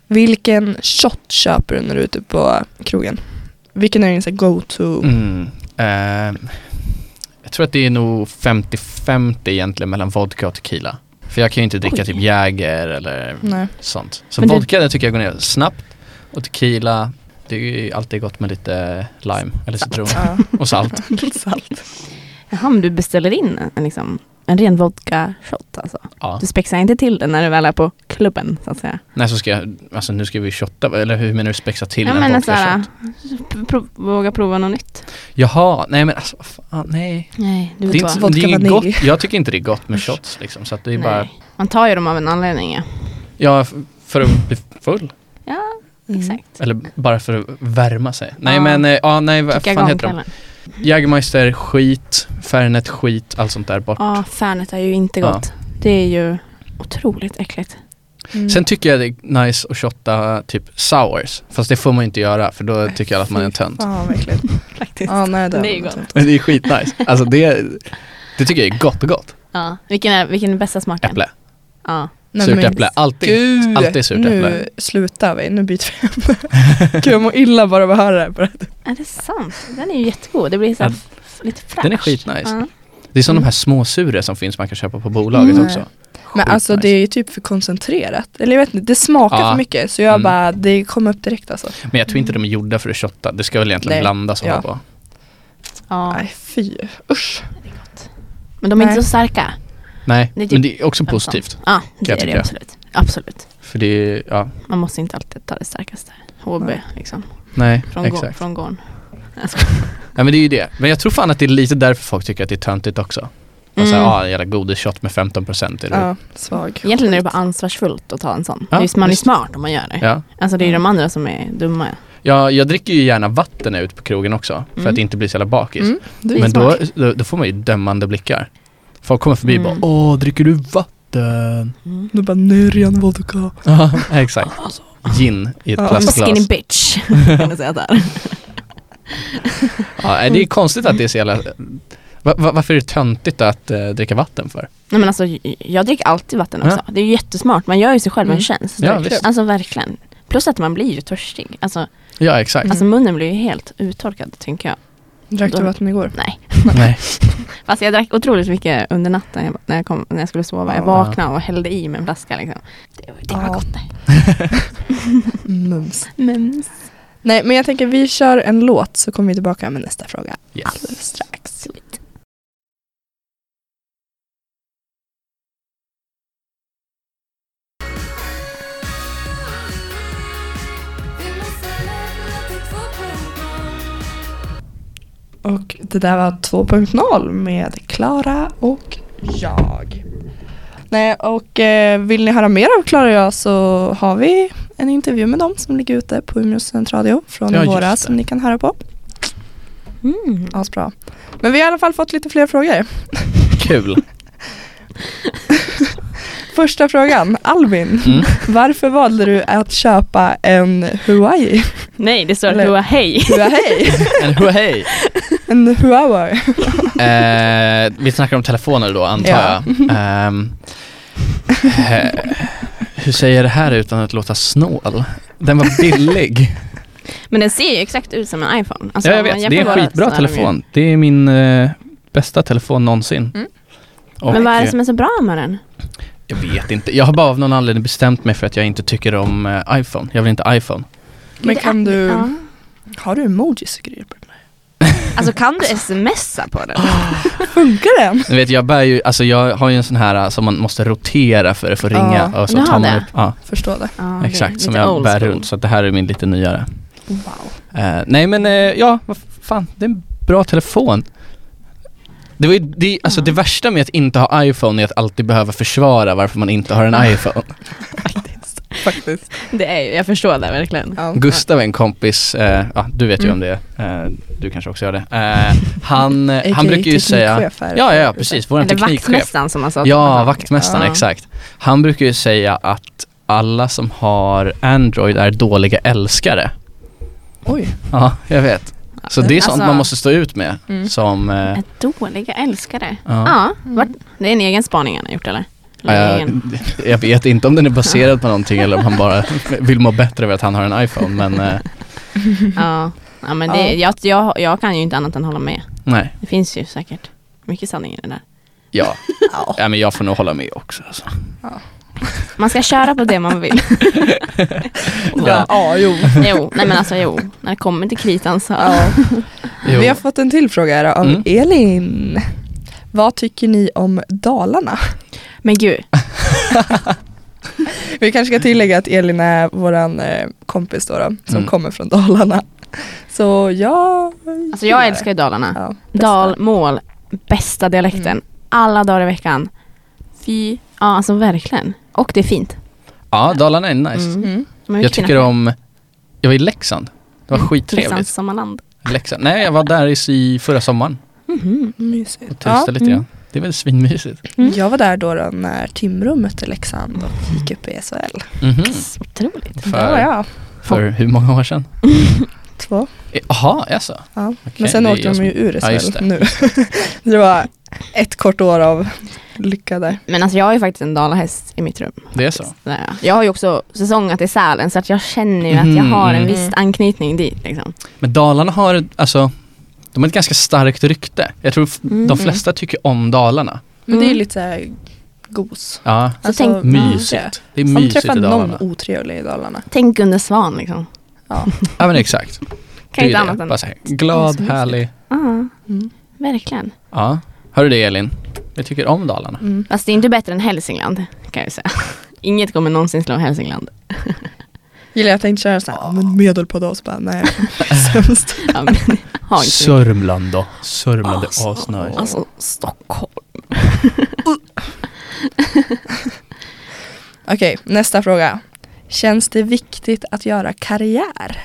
Speaker 2: Vilken shot köper du när du är ute på krogen? Vilken är din så här go-to?
Speaker 1: mm. Ehm, jag tror att det är nog 50-50 egentligen mellan vodka och tequila. För jag kan ju inte dricka
Speaker 4: Oj.
Speaker 1: typ Jäger eller
Speaker 2: Nej.
Speaker 1: sånt. Så
Speaker 4: Men du-
Speaker 1: vodka det tycker jag går ner snabbt och tequila det är ju alltid gott med lite lime eller citron
Speaker 2: Ja.
Speaker 1: och salt.
Speaker 2: Lite salt.
Speaker 4: Jaha, men du beställer in en, liksom, en ren vodka-shot alltså.
Speaker 1: Ja.
Speaker 4: Du spexar inte till den när du väl är på klubben så att säga.
Speaker 1: Nej så ska jag, alltså nu ska vi shotta, va? eller hur menar du spexa till
Speaker 4: Ja,
Speaker 1: en
Speaker 4: men alltså-
Speaker 1: vodka
Speaker 4: såhär,
Speaker 1: shot?
Speaker 4: pro- våga prova något nytt.
Speaker 1: Jaha, nej men alltså vad fan, nej.
Speaker 4: Nej, du
Speaker 1: Det är,
Speaker 4: vet
Speaker 1: inte,
Speaker 4: vad.
Speaker 1: så- det är
Speaker 2: Vodka
Speaker 1: inget
Speaker 2: vanilj.
Speaker 1: gott, jag tycker inte det är gott med shots liksom så att det är
Speaker 4: Nej.
Speaker 1: bara,
Speaker 4: Man tar ju dem av en anledning ja.
Speaker 1: ja f- för att bli full.
Speaker 4: Ja,
Speaker 2: Mm.
Speaker 4: exakt.
Speaker 1: Eller bara för att värma sig. Nej
Speaker 4: Ja.
Speaker 1: men, eh, ja nej vad fan
Speaker 4: Kicka igång
Speaker 1: heter de?
Speaker 4: kvällen.
Speaker 1: Jägermeister, skit, Fernet, skit, allt sånt där bort.
Speaker 4: Ja, Fernet är ju inte
Speaker 1: Ja.
Speaker 4: gott. Det är ju otroligt äckligt.
Speaker 2: Mm.
Speaker 1: Sen tycker jag det är nice att shotta typ sours, fast det får man ju inte göra för då tycker alla att man är en tönt.
Speaker 2: Fan vad äckligt.
Speaker 4: Faktiskt.
Speaker 2: Ja, nej, det,
Speaker 4: Det är
Speaker 2: var
Speaker 4: gott.
Speaker 2: inte.
Speaker 1: Men det är skitnice, alltså det, det tycker jag är gott gott.
Speaker 4: Ja. Vilken, är, vilken är bästa smaken?
Speaker 1: Äpple,
Speaker 4: Ja.
Speaker 2: Nej,
Speaker 1: surt
Speaker 2: men
Speaker 1: äpple, alltid.
Speaker 2: Gud,
Speaker 1: Alltid surt äpple.
Speaker 2: nu slutar vi, nu byter vi ämne. Gud jag mår illa bara av att höra det här. på det.
Speaker 4: Är det sant? Den är ju jättegod. Det blir så här, f- lite fräscht.
Speaker 1: Den är skitnice.
Speaker 4: Ja.
Speaker 1: Det är som de här småsura som finns man kan köpa på bolaget
Speaker 2: Mm.
Speaker 1: också.
Speaker 2: Men alltså det är ju typ för koncentrerat. Eller jag vet inte, det smakar
Speaker 1: Ja.
Speaker 2: för mycket. Så jag
Speaker 1: Mm.
Speaker 2: bara, det kom upp direkt alltså.
Speaker 1: Men jag tror inte de är gjorda för att shotta, det ska väl egentligen
Speaker 2: Nej.
Speaker 1: blandas och
Speaker 2: Ja.
Speaker 1: hålla på.
Speaker 4: Ja.
Speaker 2: Nej fy, usch.
Speaker 4: Men de är
Speaker 2: Nej.
Speaker 4: inte så starka.
Speaker 1: Nej,
Speaker 4: Det är typ
Speaker 1: men det är också positivt.
Speaker 4: Ja, det
Speaker 1: jag
Speaker 4: är det
Speaker 1: tycka.
Speaker 4: absolut. Absolut.
Speaker 1: För det är, ja,
Speaker 4: Man måste inte alltid ta det starkaste. HB liksom.
Speaker 1: nej
Speaker 4: Från, gå,
Speaker 1: exakt.
Speaker 4: från gården.
Speaker 1: Ja men det är ju det. Men jag tror fan att det är lite därför folk tycker att det är töntigt också. Man säger,
Speaker 4: Mm.
Speaker 1: ah jävla godisshot med 15% är det.
Speaker 2: Ja, svag.
Speaker 4: Egentligen är det bara ansvarsfullt att ta en sån.
Speaker 1: Ja,
Speaker 4: Just- man är ju
Speaker 1: visst.
Speaker 4: smart om man gör det.
Speaker 1: Ja.
Speaker 4: Alltså det är ju de andra som är dumma.
Speaker 1: Ja, jag dricker ju gärna vatten när jag är ute på krogen också för
Speaker 4: Mm.
Speaker 1: att inte bli så jävla bakis.
Speaker 2: Mm, du är
Speaker 1: Men då,
Speaker 2: smart.
Speaker 1: då, då får man ju dömande blickar. Folk kommer förbi och
Speaker 4: Mm.
Speaker 1: bara åh, dricker du vatten?
Speaker 4: Mm.
Speaker 2: Du bara, nu är det ren vodka.
Speaker 1: Ja, exakt. Gin i ett
Speaker 2: Ja.
Speaker 1: plastglas.
Speaker 4: Skinny bitch. kan du säga där.
Speaker 1: Ja, nej, det är konstigt att det är så jävla... Va, va, varför är det töntigt att eh, dricka vatten för?
Speaker 4: Nej men alltså j- jag dricker alltid vatten också. Det är ju jättesmart. Man gör ju sig själv
Speaker 2: Mm.
Speaker 4: en tjänst.
Speaker 1: Ja,
Speaker 2: Verkligen.
Speaker 1: visst. Mm.
Speaker 4: Alltså verkligen. Plus att man blir ju törstig. Alltså,
Speaker 1: Ja, exakt.
Speaker 4: alltså munnen blir ju helt uttorkad tänker jag.
Speaker 2: Drack du
Speaker 4: Då-
Speaker 2: vatten igår?
Speaker 4: Nej.
Speaker 1: Nej.
Speaker 4: Fast jag drack otroligt mycket under natten jag- när jag, kom, när jag skulle sova. Jag
Speaker 2: Ja.
Speaker 4: vaknade och hällde i mig en flaska. Liksom. Det, var- det var
Speaker 2: Ja.
Speaker 4: gott det.
Speaker 2: Mums.
Speaker 4: Men,
Speaker 2: Nej men jag tänker vi kör en låt så kommer vi tillbaka med nästa fråga
Speaker 1: Yes.
Speaker 2: alldeles strax. Och det där var 2.0 med Klara och jag. Nej, och eh, vill ni höra mer av Klara och jag så har vi en intervju med dem som ligger ute på Umeå studentradio från
Speaker 1: Ja,
Speaker 2: i
Speaker 1: just det.
Speaker 2: våras som ni kan höra på.
Speaker 4: Mm.
Speaker 2: Asbra. Men vi har i alla fall fått lite fler frågor.
Speaker 1: Kul.
Speaker 2: Första frågan, Albin.
Speaker 1: Mm.
Speaker 2: Varför valde du att köpa en Huawei?
Speaker 4: Nej, det står
Speaker 2: Eller-
Speaker 4: Hua Hej.
Speaker 2: Huawei?
Speaker 1: En hej.
Speaker 2: En Huawei?
Speaker 1: Eh, vi snackar om telefoner då antar
Speaker 2: Ja.
Speaker 1: jag. Ehm, eh, hur säger jag det här utan att låta snål? Den var billig.
Speaker 4: Men den ser ju exakt ut som en iPhone. Alltså,
Speaker 1: ja, jag
Speaker 4: om man
Speaker 1: vet, det är en
Speaker 4: jämför
Speaker 1: skitbra
Speaker 4: så är de ju-
Speaker 1: telefon. Det är min eh, bästa telefon någonsin.
Speaker 3: Mm.
Speaker 1: Och, eh,
Speaker 4: Men vad är det som är så bra med den?
Speaker 1: Jag vet inte. Jag har bara av någon anledning bestämt mig för att jag inte tycker om eh, iPhone. Jag vill inte iPhone.
Speaker 2: Men
Speaker 4: Det
Speaker 2: kan
Speaker 4: är-
Speaker 2: du,
Speaker 4: Ja.
Speaker 1: Mm.
Speaker 2: har du emojis och grejer på den?
Speaker 4: Alltså kan du smsa på den?
Speaker 1: Ah.
Speaker 2: Funkar den?
Speaker 1: Ni vet, jag, bär ju, alltså, jag har ju en sån här eh, som man måste rotera för att få ringa.
Speaker 2: Ja.
Speaker 1: och så
Speaker 4: Du
Speaker 1: tar
Speaker 4: har
Speaker 1: man
Speaker 4: det?
Speaker 1: upp, ja,
Speaker 2: Förstår det.
Speaker 4: Ja, det är
Speaker 1: exakt, som
Speaker 4: lite
Speaker 1: jag
Speaker 4: old
Speaker 1: bär
Speaker 4: school.
Speaker 1: runt. Så att det här är min lite nyare.
Speaker 2: Wow.
Speaker 1: Eh, nej men eh, ja, vad fan, det är en bra telefon. Det, var ju, det, alltså, det värsta med att inte ha iPhone är att alltid behöva försvara varför man inte har en iPhone.
Speaker 2: Faktiskt.
Speaker 4: Det är ju, jag förstår det verkligen.
Speaker 2: Ja.
Speaker 1: Gustav är en kompis, eh, ja, du vet ju om det är, eh, du kanske också gör det. Eh, han, han
Speaker 2: AKA
Speaker 1: brukar ju säga,
Speaker 2: teknikchef här.
Speaker 1: ja ja precis, vår
Speaker 4: Eller
Speaker 1: teknikchef.
Speaker 4: vaktmästaren som man sa. att man
Speaker 1: Ja,
Speaker 4: hade.
Speaker 1: vaktmästaren,
Speaker 4: Ja.
Speaker 1: exakt. Han brukar ju säga att alla som har Android är dåliga älskare.
Speaker 2: Oj.
Speaker 1: Ja, jag vet. Så det är sånt
Speaker 4: Alltså-
Speaker 1: man måste stå ut med
Speaker 2: Mm.
Speaker 1: som... eh,
Speaker 4: Ett dåliga älskare. Mm.
Speaker 1: ja.
Speaker 4: Ja, vart, det är en egen spaning han har gjort eller? Eller
Speaker 1: Ja,
Speaker 4: egen.
Speaker 1: Jag, jag vet inte om den är baserad på någonting eller om han bara vill må bättre över att han har en iPhone men eh,
Speaker 4: Ja. ja, men det, jag, jag, jag kan ju inte annat än hålla med.
Speaker 1: nej.
Speaker 4: Det finns ju säkert mycket sanning i det där.
Speaker 1: Ja. ja, men jag får nog hålla med också alltså.
Speaker 4: Man ska köra på det man vill.
Speaker 1: Ja.
Speaker 2: Ja, jo.
Speaker 4: jo, nej men alltså jo, när det kommer till kritan så.
Speaker 2: Ja.
Speaker 1: Jo.
Speaker 2: Vi har fått en till fråga här av
Speaker 1: Mm.
Speaker 2: Elin. Vad tycker ni om Dalarna?
Speaker 4: Men gud,
Speaker 2: Vi kanske ska tillägga att Elin är våran eh, kompis då, då som
Speaker 1: Mm.
Speaker 2: kommer från Dalarna. Så ja,
Speaker 4: alltså jag älskar ju Dalarna.
Speaker 2: ja, bästa.
Speaker 4: Dalmål, bästa dialekten.
Speaker 2: Mm.
Speaker 4: Alla dagar i veckan. Fy, ja alltså verkligen. Och det är fint.
Speaker 1: Ja, Dalarna är nice.
Speaker 4: Mm.
Speaker 2: Mm.
Speaker 4: De har ju
Speaker 1: Jag
Speaker 4: fina-
Speaker 1: tycker om, jag var i Leksand. Det var
Speaker 4: Leksands
Speaker 1: skittrevligt.
Speaker 4: sommarland.
Speaker 1: Leksand. Nej, jag var där i, i förra sommaren
Speaker 4: Mhm.
Speaker 2: Mysigt.
Speaker 1: och turistade
Speaker 2: Ja. mm.
Speaker 1: lite grann. Det är väl svinmysigt.
Speaker 4: Mm.
Speaker 2: Jag var där då, då när Timrå mötte Leksand och gick upp i SHL.
Speaker 1: Mhm.
Speaker 4: Otroligt.
Speaker 2: Där var
Speaker 1: För,
Speaker 2: jag.
Speaker 1: för hur många år sedan?
Speaker 2: Två.
Speaker 1: Eh, Jaha, jaså?
Speaker 2: Ja.
Speaker 1: Okej,
Speaker 2: Men sen
Speaker 1: det är
Speaker 2: åkte
Speaker 1: jag
Speaker 2: de
Speaker 1: som-
Speaker 2: ju ur
Speaker 1: Ja, just
Speaker 2: SHL nu. det var ett kort år av lycka där.
Speaker 4: Men alltså jag har ju faktiskt en dalahäst i mitt rum.
Speaker 1: Det är så?
Speaker 4: Sådär, ja. Jag har ju också säsongat i Sälen så att jag känner ju att jag
Speaker 1: Mhm.
Speaker 4: har en viss
Speaker 2: Mm.
Speaker 4: anknytning dit. Liksom.
Speaker 1: Men Dalarna har, alltså, de har ett ganska starkt rykte. Jag tror f-
Speaker 4: Mm.
Speaker 1: de flesta tycker om Dalarna.
Speaker 2: Men det är
Speaker 4: Mm.
Speaker 2: lite såhär gos. Alltså,
Speaker 1: Ja,
Speaker 4: Så tänk-
Speaker 1: mysigt. Det är
Speaker 2: Om
Speaker 1: mysigt i
Speaker 2: träffar
Speaker 1: Dalarna.
Speaker 2: någon otrevlig i Dalarna.
Speaker 4: Tänk Gunde Svan liksom.
Speaker 1: Ja men exakt.
Speaker 4: Kan
Speaker 1: Det är
Speaker 4: inte
Speaker 1: det.
Speaker 4: annat än.
Speaker 1: Bara så här, glad,
Speaker 4: Det är så
Speaker 1: härlig.
Speaker 4: Ja,
Speaker 2: Mm.
Speaker 4: verkligen.
Speaker 1: Ja. Hör du det Elin? Jag tycker om Dalarna.
Speaker 2: Mm.
Speaker 4: Fast det är inte bättre än Hälsingland kan jag ju säga. Inget kommer någonsin slå Hälsingland.
Speaker 2: Gillar jag tänkte köra såhär, men medel på dag så bara nej. Sämst.
Speaker 4: Ja, men, ha inte.
Speaker 1: Sörmland då? Sörmland
Speaker 4: Alltså,
Speaker 1: är asnice.
Speaker 4: Alltså Stockholm.
Speaker 2: Okej, nästa fråga. Känns det viktigt att göra karriär?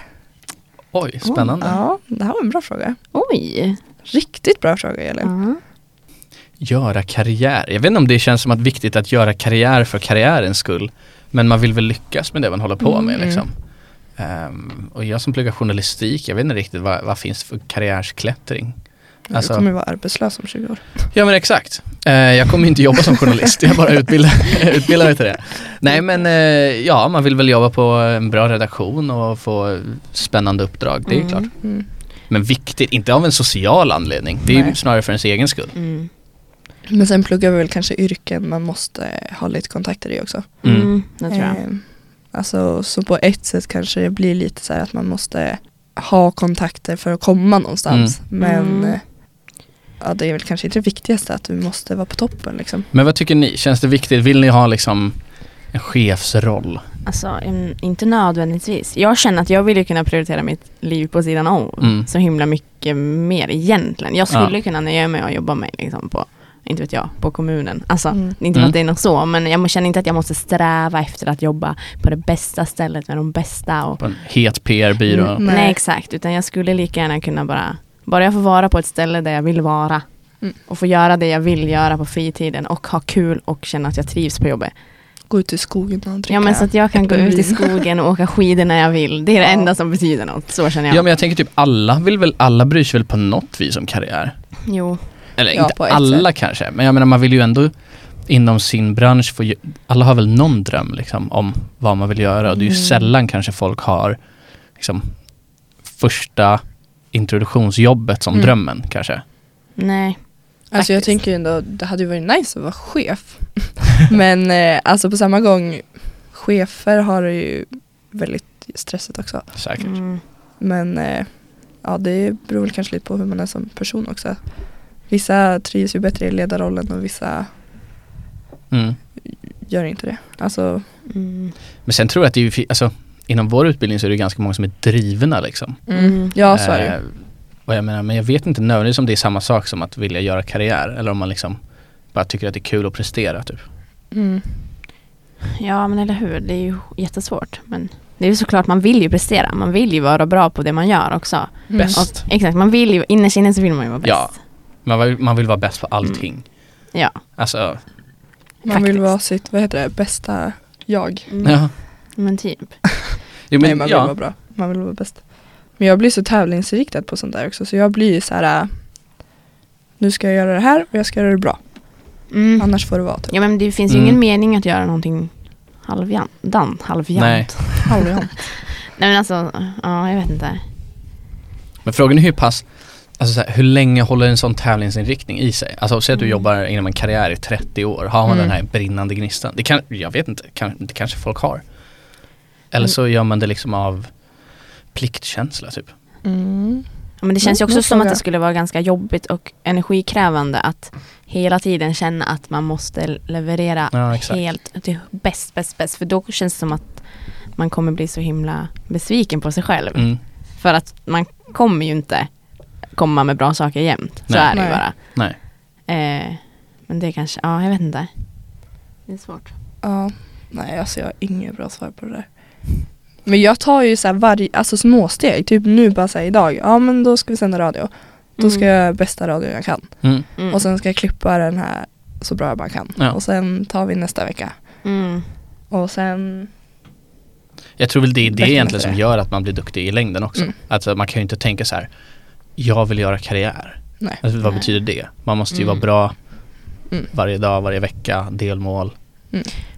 Speaker 1: Oj, spännande.
Speaker 2: Ja, det här var en bra fråga.
Speaker 4: Oj. Mm.
Speaker 2: Riktigt bra fråga Elin.
Speaker 4: Ja.
Speaker 1: Göra karriär. Jag vet inte om det känns som att viktigt att göra karriär för karriärens skull. Men man vill väl lyckas med det man håller på med
Speaker 2: Mm.
Speaker 1: liksom. Ehm, och jag som pluggar journalistik, jag vet inte riktigt vad, vad finns för karriärsklättring.
Speaker 2: Du
Speaker 1: Alltså-
Speaker 2: kommer vara arbetslös om 20 år.
Speaker 1: Ja men exakt. Eh, jag kommer inte jobba som journalist, jag bara utbildar, utbildar mig till det. Nej men eh, ja, man vill väl jobba på en bra redaktion och få spännande uppdrag, det är ju
Speaker 4: Mm.
Speaker 1: klart.
Speaker 2: Mm.
Speaker 1: Men viktigt, inte av en social anledning, det är ju
Speaker 2: Nej.
Speaker 1: snarare för ens egen skull.
Speaker 4: Mm.
Speaker 2: Men sen pluggar vi väl kanske yrken man måste ha lite kontakter i också.
Speaker 1: Mm.
Speaker 4: Mm, det tror jag.
Speaker 2: Ehm, alltså, så på ett sätt kanske det blir lite så här att man måste ha kontakter för att komma någonstans. Men
Speaker 4: Mm.
Speaker 2: eh, ja, det är väl kanske inte det viktigaste att du måste vara på toppen liksom.
Speaker 1: Men vad tycker ni, känns det viktigt, vill ni ha liksom en chefsroll?
Speaker 4: Alltså mm, inte nödvändigtvis. Jag känner att jag vill ju kunna prioritera mitt liv på sidan om
Speaker 1: Mm.
Speaker 4: så himla mycket mer egentligen. Jag
Speaker 1: Ja.
Speaker 4: skulle kunna när jag är med och jobbar med liksom på, inte vet jag, på kommunen. Alltså
Speaker 2: Mm.
Speaker 4: inte för
Speaker 1: Mm.
Speaker 4: att det är något så men jag må- känner inte att jag måste sträva efter att jobba på det bästa stället med de bästa. Och,
Speaker 1: På en het PR-byrå.
Speaker 4: Mm, nej. exakt, utan jag skulle lika gärna kunna bara, bara jag får vara på ett ställe där jag vill vara
Speaker 2: Mm.
Speaker 4: och få göra det jag vill göra på fritiden och ha kul och känna att jag trivs på jobbet.
Speaker 2: Gå ut i skogen och dricka.
Speaker 4: Ja men så att jag kan gå ut i
Speaker 2: äppelvin.
Speaker 4: skogen och åka skidor när jag vill. Det är det
Speaker 2: Ja.
Speaker 4: enda som betyder något. Så känner jag.
Speaker 1: Ja men jag tänker typ alla vill väl, alla bryr sig väl på något vis om karriär?
Speaker 4: Jo.
Speaker 1: Eller
Speaker 2: Ja, på
Speaker 1: inte
Speaker 2: ett
Speaker 1: alla kanske, men jag menar man vill ju ändå inom sin bransch få, ju- alla har väl någon dröm liksom om vad man vill göra och det är ju
Speaker 4: Mm.
Speaker 1: sällan kanske folk har liksom första introduktionsjobbet som
Speaker 4: Mm.
Speaker 1: drömmen kanske.
Speaker 4: Nej.
Speaker 2: Alltså jag
Speaker 4: Faktiskt.
Speaker 2: tänker ju ändå, det hade ju varit nice att vara chef. Men eh, alltså på samma gång, chefer har det ju väldigt stressigt också.
Speaker 1: Säkert.
Speaker 4: Mm.
Speaker 2: Men eh, ja, det beror väl kanske lite på hur man är som person också. Vissa trivs ju bättre i ledarrollen och vissa
Speaker 1: Mm.
Speaker 2: gör inte det. Alltså,
Speaker 4: Mm.
Speaker 1: Men sen tror jag att det är, ju fi- alltså, inom vår utbildning så är det ganska många som är drivna liksom.
Speaker 4: Mm.
Speaker 2: ja så är det ju.
Speaker 1: Eh, och jag menar, men jag vet inte nödvändigtvis om det är samma sak som att vilja göra karriär eller om man liksom bara tycker att det är kul att prestera typ.
Speaker 2: Mm.
Speaker 4: Ja men eller hur. Det är ju jättesvårt. Men det är ju såklart man vill ju prestera. Man vill ju vara bra på det man gör också.
Speaker 2: Mm.
Speaker 1: Bäst.
Speaker 4: Och, exakt. Man vill ju, innerst inne så vill man ju vara bäst.
Speaker 1: Ja. Man vill, man vill vara bäst på allting.
Speaker 2: Mm.
Speaker 4: Ja.
Speaker 1: Alltså,
Speaker 2: Man vill
Speaker 4: Faktiskt.
Speaker 2: vara sitt, vad heter det, bästa jag.
Speaker 4: Mm.
Speaker 1: ja.
Speaker 4: Men typ.
Speaker 1: Jo, men,
Speaker 2: Nej man vill vara
Speaker 1: ja.
Speaker 2: bra, man vill vara bäst. Men jag blir så tävlingsriktad på sånt där också så jag blir ju så här. äh, Nu ska jag göra det här och jag ska göra det bra.
Speaker 4: Mm.
Speaker 2: Annars får det vara typ
Speaker 4: Ja men det finns ju
Speaker 1: Mm.
Speaker 4: ingen mening att göra någonting halvjant. Dan, halvjant.
Speaker 1: Nej.
Speaker 2: halvjant.
Speaker 4: Nej men alltså. Ja jag vet inte.
Speaker 1: Men frågan är hur pass, alltså så här, hur länge håller en sån tävlingsinriktning i sig? Alltså säg att du
Speaker 4: Mm.
Speaker 1: jobbar inom en karriär i 30 år, har man
Speaker 2: Mm.
Speaker 1: den här brinnande gnistan? Det kan, jag vet inte, kan, det kanske folk har.
Speaker 2: Mm.
Speaker 1: Eller så gör man det liksom av pliktkänsla typ.
Speaker 2: Mm.
Speaker 4: Ja, Men det känns ju
Speaker 2: Mm,
Speaker 4: också
Speaker 2: bra
Speaker 4: som att
Speaker 2: fråga.
Speaker 4: det skulle vara ganska jobbigt och energikrävande att hela tiden känna att man måste leverera
Speaker 1: Ja, exakt.
Speaker 4: helt till bäst, bäst, bäst. För då känns det som att man kommer bli så himla besviken på sig själv.
Speaker 1: Mm.
Speaker 4: För att man kommer ju inte komma med bra saker jämt. Så
Speaker 1: Nej.
Speaker 4: är det ju
Speaker 2: Nej.
Speaker 4: bara.
Speaker 1: Nej.
Speaker 4: Eh, men det kanske, ja jag vet inte. Mm. Det är svårt.
Speaker 2: Ja, nej alltså jag har inget bra svar på det där. Men jag tar ju så här varje, alltså små steg. Typ nu bara säga idag, ja men då ska vi sända radio. Då ska
Speaker 4: Mm.
Speaker 2: jag göra bästa radio jag kan.
Speaker 1: Mm.
Speaker 4: Mm.
Speaker 2: Och sen ska jag klippa den här så bra jag bara kan.
Speaker 1: Ja.
Speaker 2: Och sen tar vi nästa vecka.
Speaker 4: Mm.
Speaker 2: Och sen,
Speaker 1: Jag tror väl det är det
Speaker 2: Verkligen
Speaker 1: egentligen
Speaker 2: inte
Speaker 1: som
Speaker 2: det.
Speaker 1: gör att man blir duktig i längden också.
Speaker 2: Mm.
Speaker 1: Alltså man kan ju inte tänka så här, jag vill göra karriär.
Speaker 2: Nej.
Speaker 1: Alltså, vad
Speaker 4: Nej.
Speaker 1: betyder det? Man måste ju
Speaker 4: Mm.
Speaker 1: vara bra
Speaker 2: Mm.
Speaker 1: varje dag, varje vecka, delmål.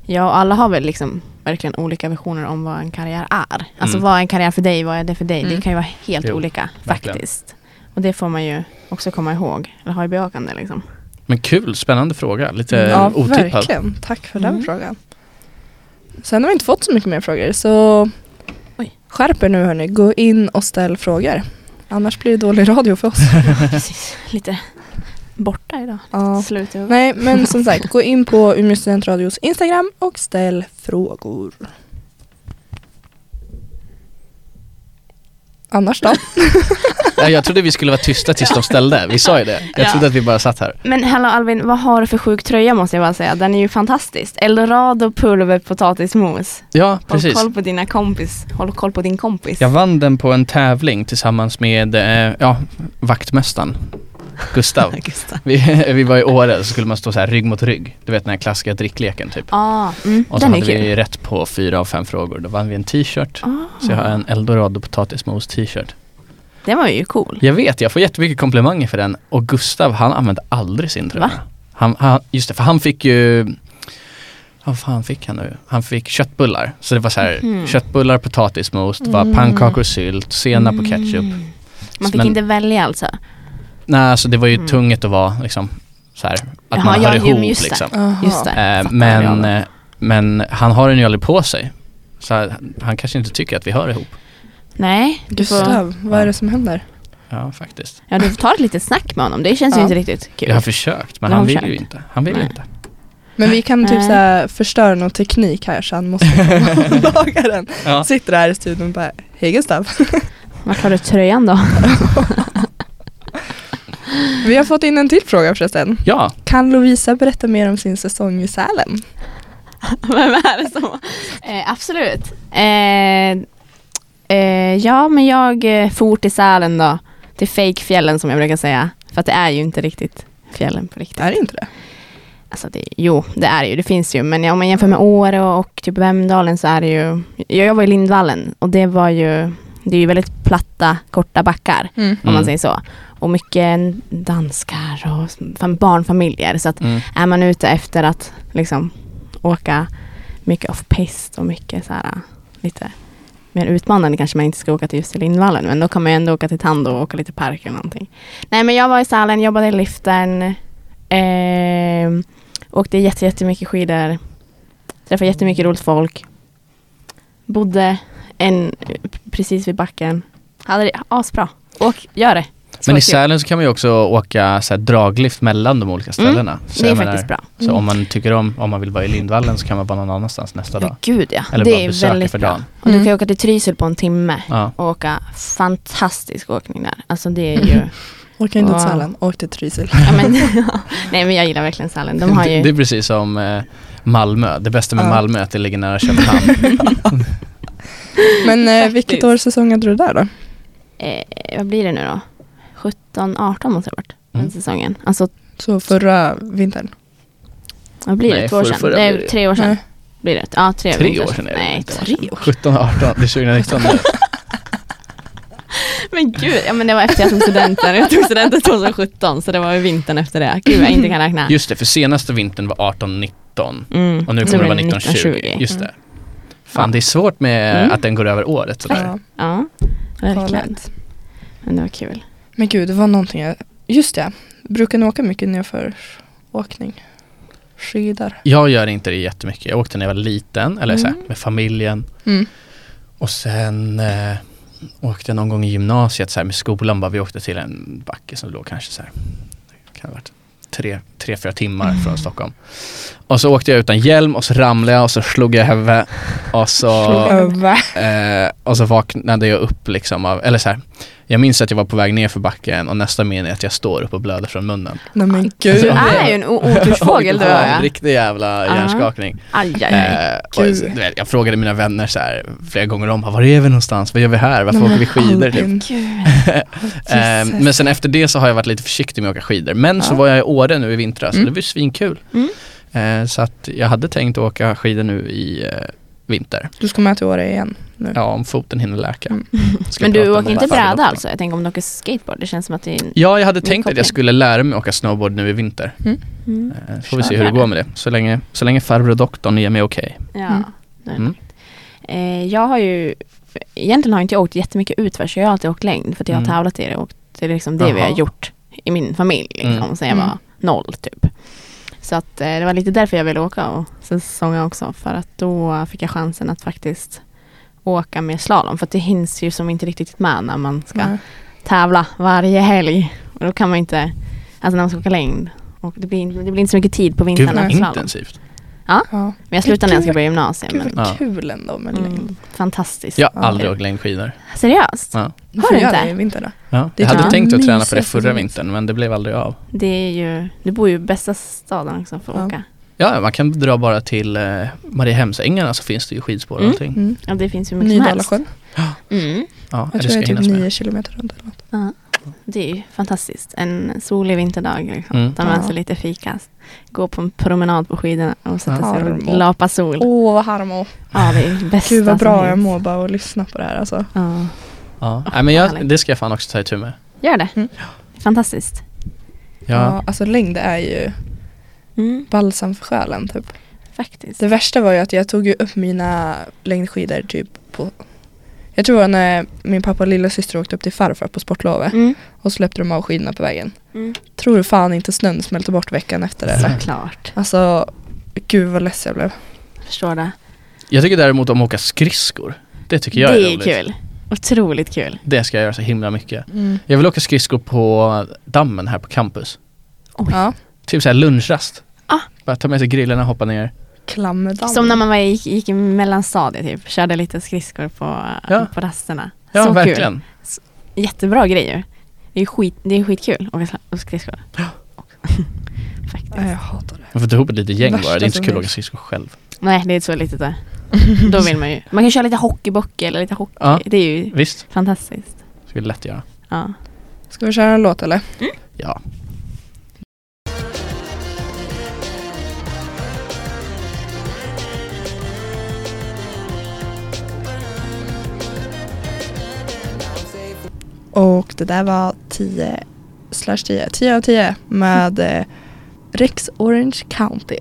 Speaker 4: Ja, och alla har väl liksom verkligen olika visioner om vad en karriär är. Alltså
Speaker 1: Mm.
Speaker 4: vad är en karriär för dig, vad är det för dig?
Speaker 2: Mm.
Speaker 4: Det kan ju vara helt
Speaker 1: Jo,
Speaker 4: olika
Speaker 1: verkligen.
Speaker 4: faktiskt. Och det får man ju också komma ihåg, eller ha i beakande liksom.
Speaker 1: Men kul, spännande fråga. Lite
Speaker 4: Mm.
Speaker 2: ja
Speaker 1: otippad.
Speaker 2: verkligen. Tack för den
Speaker 4: Mm.
Speaker 2: frågan. Sen har vi inte fått så mycket mer frågor så
Speaker 4: Oj.
Speaker 2: skärp er nu hörni. Gå in och ställ frågor. Annars blir det dålig radio för oss.
Speaker 4: Precis, lite borta idag.
Speaker 2: Ja.
Speaker 4: Slut i huvudet.
Speaker 2: Nej, men som sagt, gå in på Umeå studentradios Instagram och ställ frågor. Annars då?
Speaker 1: Ja, jag trodde vi skulle vara tysta tills de ställde. Vi sa ju det. Jag
Speaker 4: Ja.
Speaker 1: trodde att vi bara satt här.
Speaker 4: Men hallå Alvin, vad har du för sjuk tröja måste jag bara säga. Den är ju fantastisk. Eldorado pulver potatismos.
Speaker 1: Ja,
Speaker 4: Håll
Speaker 1: precis.
Speaker 4: koll på dina kompis. Håll koll på din kompis.
Speaker 1: Jag vann den på en tävling tillsammans med eh, ja, vaktmästaren Gustav.
Speaker 4: Gustav.
Speaker 1: Vi, vi var i Åre så skulle man stå så här rygg mot rygg. Du vet den här klassiska drickleken typ.
Speaker 4: Ah, mm,
Speaker 1: Och så
Speaker 4: den är
Speaker 1: hade
Speaker 4: kul.
Speaker 1: vi rätt på fyra av fem frågor. Då vann vi en t-shirt.
Speaker 4: Ah,
Speaker 1: Så jag har en Eldorado potatismos t-shirt.
Speaker 4: Den var ju cool.
Speaker 1: Jag vet, jag får jättemycket komplimanger för den. Och Gustav, han använde aldrig sin tröja.
Speaker 4: Va?
Speaker 1: Han, han, just det, för han fick ju... Vad fan fick han nu? Han fick köttbullar. Så det var så här,
Speaker 4: Mhm.
Speaker 1: köttbullar, potatismos, det var
Speaker 2: Mm.
Speaker 1: pannkakor, sylt, senap och ketchup.
Speaker 4: Mm. Man fick
Speaker 1: Men-
Speaker 4: inte välja alltså?
Speaker 1: Nej, alltså det var ju
Speaker 4: Mm.
Speaker 1: tunget att vara liksom så här, att
Speaker 4: Jaha,
Speaker 1: man
Speaker 4: ja,
Speaker 1: hör
Speaker 4: jo,
Speaker 1: ihop
Speaker 4: men just det.
Speaker 1: liksom.
Speaker 4: Just det.
Speaker 1: Eh,
Speaker 4: fattar
Speaker 1: men,
Speaker 4: jag.
Speaker 1: eh, men han har den ju aldrig på sig. Så här, han kanske inte tycker att vi hör ihop.
Speaker 4: Nej, du får,
Speaker 2: Gustav, vad är det som händer?
Speaker 1: Ja, faktiskt.
Speaker 4: ja, du får ta ett litet snack med honom. Det känns ju
Speaker 2: Ja.
Speaker 4: inte riktigt kul.
Speaker 1: Jag har försökt, men
Speaker 4: Du har
Speaker 1: han vill
Speaker 4: försökt.
Speaker 1: ju inte. Han vill
Speaker 4: Nej.
Speaker 1: inte.
Speaker 2: Men vi kan typ
Speaker 4: Nej.
Speaker 2: såhär förstöra någon teknik här så han måste komma och laga den.
Speaker 1: Ja.
Speaker 2: Sitter här i studion och bara, hej Gustav.
Speaker 4: Vart har du tröjan då?
Speaker 2: Vi har fått in en till fråga förresten.
Speaker 1: ja.
Speaker 2: Kan Lovisa berätta mer om sin säsong i Sälen?
Speaker 4: Vem är det som
Speaker 3: Eh, absolut.
Speaker 4: Eh, eh, ja, men jag eh, for till Sälen då. Till fejkfjällen som jag brukar säga. För att det är ju inte riktigt fjällen på riktigt.
Speaker 2: Är det inte det?
Speaker 4: Alltså det, jo, det är det ju. Det finns ju. Men om man jämför med Åre och, och typ Vemdalen så är det ju... Jag jobbar i Lindvallen och det var ju... Det är ju väldigt platta, korta backar. Om
Speaker 1: Mm.
Speaker 4: man säger så. Och mycket danskar och fan barnfamiljer. Så att
Speaker 1: Mm.
Speaker 4: är man ute efter att liksom åka mycket off-pist och mycket så här äh, lite mer utmanande kanske man inte ska åka till just till Lindvallen men då kan man ju ändå åka till Tando och åka lite park eller någonting. Nej men jag var i Sälen, jobbade i liften, eh, åkte jätte, jättemycket skidor, träffade jättemycket roligt folk, bodde en, precis vid backen, hade det asbra. Åk, gör det! Så
Speaker 1: Men i
Speaker 4: kul. Mm.
Speaker 1: Sälen så kan man ju också åka så här draglift mellan de olika ställena. Så
Speaker 4: Det är
Speaker 1: jag menar,
Speaker 4: faktiskt bra. Mm.
Speaker 1: Så om man tycker om, om man vill vara i Lindvallen så kan man vara någon annanstans nästa dag.
Speaker 4: Ja, gud ja.
Speaker 1: Eller bara
Speaker 4: det är
Speaker 1: besöka
Speaker 4: väldigt
Speaker 1: för
Speaker 4: bra.
Speaker 1: dagen.
Speaker 4: Och du
Speaker 2: Mm.
Speaker 4: kan ju åka till Trysil på en timme
Speaker 1: Ja.
Speaker 4: och åka fantastisk åkning där. Alltså det är ju...
Speaker 2: Åker inte till
Speaker 4: Wow.
Speaker 2: Sälen, åk till Trysil.
Speaker 4: ja, men, nej men jag gillar verkligen Sälen. De har
Speaker 1: Det
Speaker 4: ju...
Speaker 1: är precis som eh, Malmö. Det bästa med
Speaker 2: Ja.
Speaker 1: Malmö är att det ligger nära Köpenhamn.
Speaker 2: Men eh, vilket år säsong hade du där då?
Speaker 4: Eh, vad blir det nu då? 17, 18 måste det ha varit.
Speaker 1: Mm.
Speaker 4: Den säsongen. Alltså
Speaker 2: Så förra vintern?
Speaker 4: vad blir det?
Speaker 1: Nej,
Speaker 4: Två år
Speaker 1: förra-
Speaker 4: sedan?
Speaker 1: förra
Speaker 4: det
Speaker 1: blir
Speaker 4: är
Speaker 1: det.
Speaker 4: tre år sedan.
Speaker 2: Nej.
Speaker 4: Blir det? Ja, tre,
Speaker 1: Tre
Speaker 4: vinter-
Speaker 1: år sedan är det.
Speaker 4: Nej,
Speaker 1: Inte
Speaker 4: tre år.
Speaker 1: 17, 18, det är 2019 nu.
Speaker 4: Men gud, ja men det var efter jag tog studenten. Jag tog studenten 2017 så det var ju vintern efter det. Gud vad jag inte kan räkna.
Speaker 1: Just det, för senaste vintern var 18, 19
Speaker 4: Mm.
Speaker 1: och nu kommer
Speaker 4: Så
Speaker 1: det
Speaker 4: blir
Speaker 1: vara 19, 20. Just det. Fan,
Speaker 4: Ja.
Speaker 1: det är svårt med
Speaker 4: Mm.
Speaker 1: att den går över året sådär.
Speaker 2: Ja,
Speaker 4: Ja, verkligen.
Speaker 2: galet.
Speaker 4: Men det var kul.
Speaker 2: Men gud, det var någonting jag... Just det, brukar ni åka mycket nerför åkning? Skidor?
Speaker 1: Jag gör inte det jättemycket. Jag åkte när jag var liten, eller så här,
Speaker 2: Mm.
Speaker 1: med familjen.
Speaker 2: Mm.
Speaker 1: Och sen eh, åkte jag någon gång i gymnasiet så här, med skolan. Bara, vi åkte till en backe som låg kanske så här, kan ha varit tre, tre, fyra timmar
Speaker 4: Mm.
Speaker 1: från Stockholm. Och så åkte jag utan hjälm och så ramlade jag och så slog jag huvudet. Och så
Speaker 2: Över.
Speaker 1: Eh, och så vaknade jag upp liksom av, eller så här. Jag minns att jag var på väg ner för backen och nästa minne är att jag står upp och blöder från munnen.
Speaker 2: Nej men
Speaker 4: Du
Speaker 2: gud.
Speaker 4: är ju en o- otursfågel du
Speaker 1: Det var en
Speaker 4: är.
Speaker 1: riktig jävla
Speaker 4: Ja.
Speaker 1: hjärnskakning.
Speaker 4: Aj, aj, aj.
Speaker 1: Eh, och,
Speaker 2: gud.
Speaker 1: så- du vet, jag frågade mina vänner så här, flera gånger om, var är vi någonstans? Vad gör vi här? Varför
Speaker 2: Nej,
Speaker 1: åker
Speaker 2: men
Speaker 1: vi skidor? Typ.
Speaker 2: Albin.
Speaker 4: Gud.
Speaker 1: Eh,
Speaker 2: Jesus.
Speaker 1: men sen efter det så har jag varit lite försiktig med att åka skidor. Men så
Speaker 2: Ja.
Speaker 1: var jag i Åre nu i vintras
Speaker 4: Mm.
Speaker 1: och det var ju svinkul.
Speaker 4: Mm.
Speaker 1: Eh, så att jag hade tänkt att åka skidor nu i eh, vinter.
Speaker 2: Du ska med till Åre igen nu.
Speaker 1: Ja, om foten hinner läka.
Speaker 2: Mm.
Speaker 1: Ska
Speaker 4: Men
Speaker 1: prata
Speaker 4: du
Speaker 1: om
Speaker 4: åker
Speaker 1: det
Speaker 4: inte
Speaker 1: här.
Speaker 4: bräda alltså? Jag tänker om du åker skateboard, det känns som att det är...
Speaker 1: Ja, jag hade
Speaker 4: Min
Speaker 1: tänkt att
Speaker 4: koppling.
Speaker 1: jag skulle lära mig åka snowboard nu i vinter.
Speaker 4: Mm.
Speaker 1: Eh, Får vi
Speaker 4: Kör
Speaker 1: se hur det
Speaker 4: där.
Speaker 1: går med det. Så länge, så länge farbror doktorn ger mig okej.
Speaker 4: Ja,
Speaker 2: Mm.
Speaker 4: då är det
Speaker 1: Mm.
Speaker 4: perfekt. Eh, Jag har ju... Egentligen har inte jag åkt jättemycket utför, så jag har alltid åkt längd för att jag har
Speaker 1: Mm.
Speaker 4: tävlat i det och det är liksom det vi
Speaker 1: Jaha.
Speaker 4: har gjort i min familj liksom,
Speaker 1: Mm.
Speaker 4: sen jag
Speaker 2: Mm.
Speaker 4: var noll typ. Så att eh, det var lite därför jag ville åka och säsonga också för att då fick jag chansen att faktiskt åka med slalom för att det hinns ju som inte riktigt med när man ska
Speaker 2: Nej.
Speaker 4: tävla varje helg. Och då kan man inte, alltså när man ska åka längd. Och det, blir, det blir inte så mycket tid på
Speaker 1: Gud
Speaker 4: vintern.
Speaker 1: vad
Speaker 4: att slalom.
Speaker 1: intensivt.
Speaker 2: Ja.
Speaker 4: Men jag slutar när jag ska börja gymnasiet.
Speaker 2: Gud
Speaker 4: Men,
Speaker 2: vad
Speaker 1: Ja.
Speaker 2: kul ändå med
Speaker 4: mm,
Speaker 2: längd.
Speaker 4: fantastiskt.
Speaker 1: Jag har
Speaker 2: Ja.
Speaker 1: aldrig åkt längdskidor.
Speaker 4: Seriöst?
Speaker 1: Ja.
Speaker 2: Du
Speaker 4: Har
Speaker 2: får
Speaker 4: du
Speaker 2: göra
Speaker 4: inte?
Speaker 2: det i vinter då.
Speaker 1: Ja.
Speaker 2: Det
Speaker 1: Jag hade
Speaker 4: tycker
Speaker 1: tänkt
Speaker 2: jag
Speaker 1: att
Speaker 2: är
Speaker 1: träna på det
Speaker 2: mysigt
Speaker 1: förra
Speaker 2: som
Speaker 1: vintern men det blev aldrig av.
Speaker 4: Det är ju, du bor ju i bästa staden också för att
Speaker 2: Ja.
Speaker 4: åka.
Speaker 1: Ja, man kan dra bara till eh, Mariehemsängarna så finns det ju skidspår och
Speaker 4: Mm.
Speaker 1: allting.
Speaker 2: Mm.
Speaker 4: Ja, det finns ju mycket som helst.
Speaker 2: Nydalasjön.
Speaker 4: Mm.
Speaker 1: Ja,
Speaker 2: Jag
Speaker 1: det
Speaker 2: tror
Speaker 1: ska
Speaker 2: det är typ
Speaker 1: hinnas med.
Speaker 2: nio kilometer runt eller något.
Speaker 4: Det är ju fantastiskt. En solig vinterdag. Liksom.
Speaker 1: Mm.
Speaker 4: Ta med
Speaker 2: Ja.
Speaker 4: sig lite fika. Gå på en promenad på skidorna och sätta sig och
Speaker 2: Harmo.
Speaker 4: lapa sol.
Speaker 2: Åh vad harmo.
Speaker 4: Ja, det är det bästa
Speaker 2: Gud vad
Speaker 4: som
Speaker 2: bra jag
Speaker 4: finns.
Speaker 2: mår bara att lyssna på det här alltså.
Speaker 4: Ja.
Speaker 1: Ja. Nej, men jag,
Speaker 4: härligt.
Speaker 1: det ska jag fan också ta itu med.
Speaker 4: Gör det.
Speaker 2: Mm.
Speaker 4: Fantastiskt.
Speaker 1: Ja.
Speaker 2: alltså längd är ju
Speaker 4: Mm.
Speaker 2: balsam för själen typ.
Speaker 4: Faktiskt.
Speaker 2: Det värsta var ju att jag tog ju upp mina längdskidor typ på jag tror det var när min pappa och lilla syster åkte upp till farfar på sportlovet
Speaker 4: Mm.
Speaker 2: och släppte de av skidorna på vägen.
Speaker 4: Mm.
Speaker 2: Tror du fan inte snön smälte bort veckan efter det eller?
Speaker 4: Såklart.
Speaker 2: Alltså, gud vad less jag blev.
Speaker 4: Förstår det.
Speaker 1: Jag tycker däremot om att åka skridskor. Det tycker jag
Speaker 4: det
Speaker 1: är
Speaker 4: är
Speaker 1: roligt.
Speaker 4: kul. Otroligt kul.
Speaker 1: Det ska jag göra så himla mycket. Jag vill åka skridskor på dammen här på campus.
Speaker 2: Ja.
Speaker 1: Typ såhär lunchrast.
Speaker 4: Ah.
Speaker 1: Bara ta med sig grillarna och hoppa ner.
Speaker 2: Klammedamm.
Speaker 4: Som när man var, gick, gick i mellanstadiet typ, körde lite skridskor på,
Speaker 1: Ja.
Speaker 4: på rasterna.
Speaker 1: Ja,
Speaker 4: så
Speaker 1: verkligen.
Speaker 4: kul. Jättebra grejer. Det är, skit, det är skitkul att åka sla- och skridskor.
Speaker 1: Ja.
Speaker 4: Faktiskt.
Speaker 2: Nej, jag hatar det.
Speaker 1: Man får ta ihop ett litet gäng
Speaker 2: Värsta
Speaker 1: bara, det är inte så
Speaker 2: som
Speaker 1: kul att
Speaker 2: finns.
Speaker 1: åka skridskor själv.
Speaker 4: Nej, det är så litet där. Då vill man ju. Man kan köra lite hockeyböcker eller lite hockey.
Speaker 1: Ja.
Speaker 4: Det är ju
Speaker 1: Visst,
Speaker 4: fantastiskt.
Speaker 1: ska vi lätt göra.
Speaker 4: Ja.
Speaker 2: Ska vi köra en låt eller?
Speaker 1: Ja.
Speaker 2: Och det där var 10 slash 10, 10 av 10 med eh, Rex Orange County.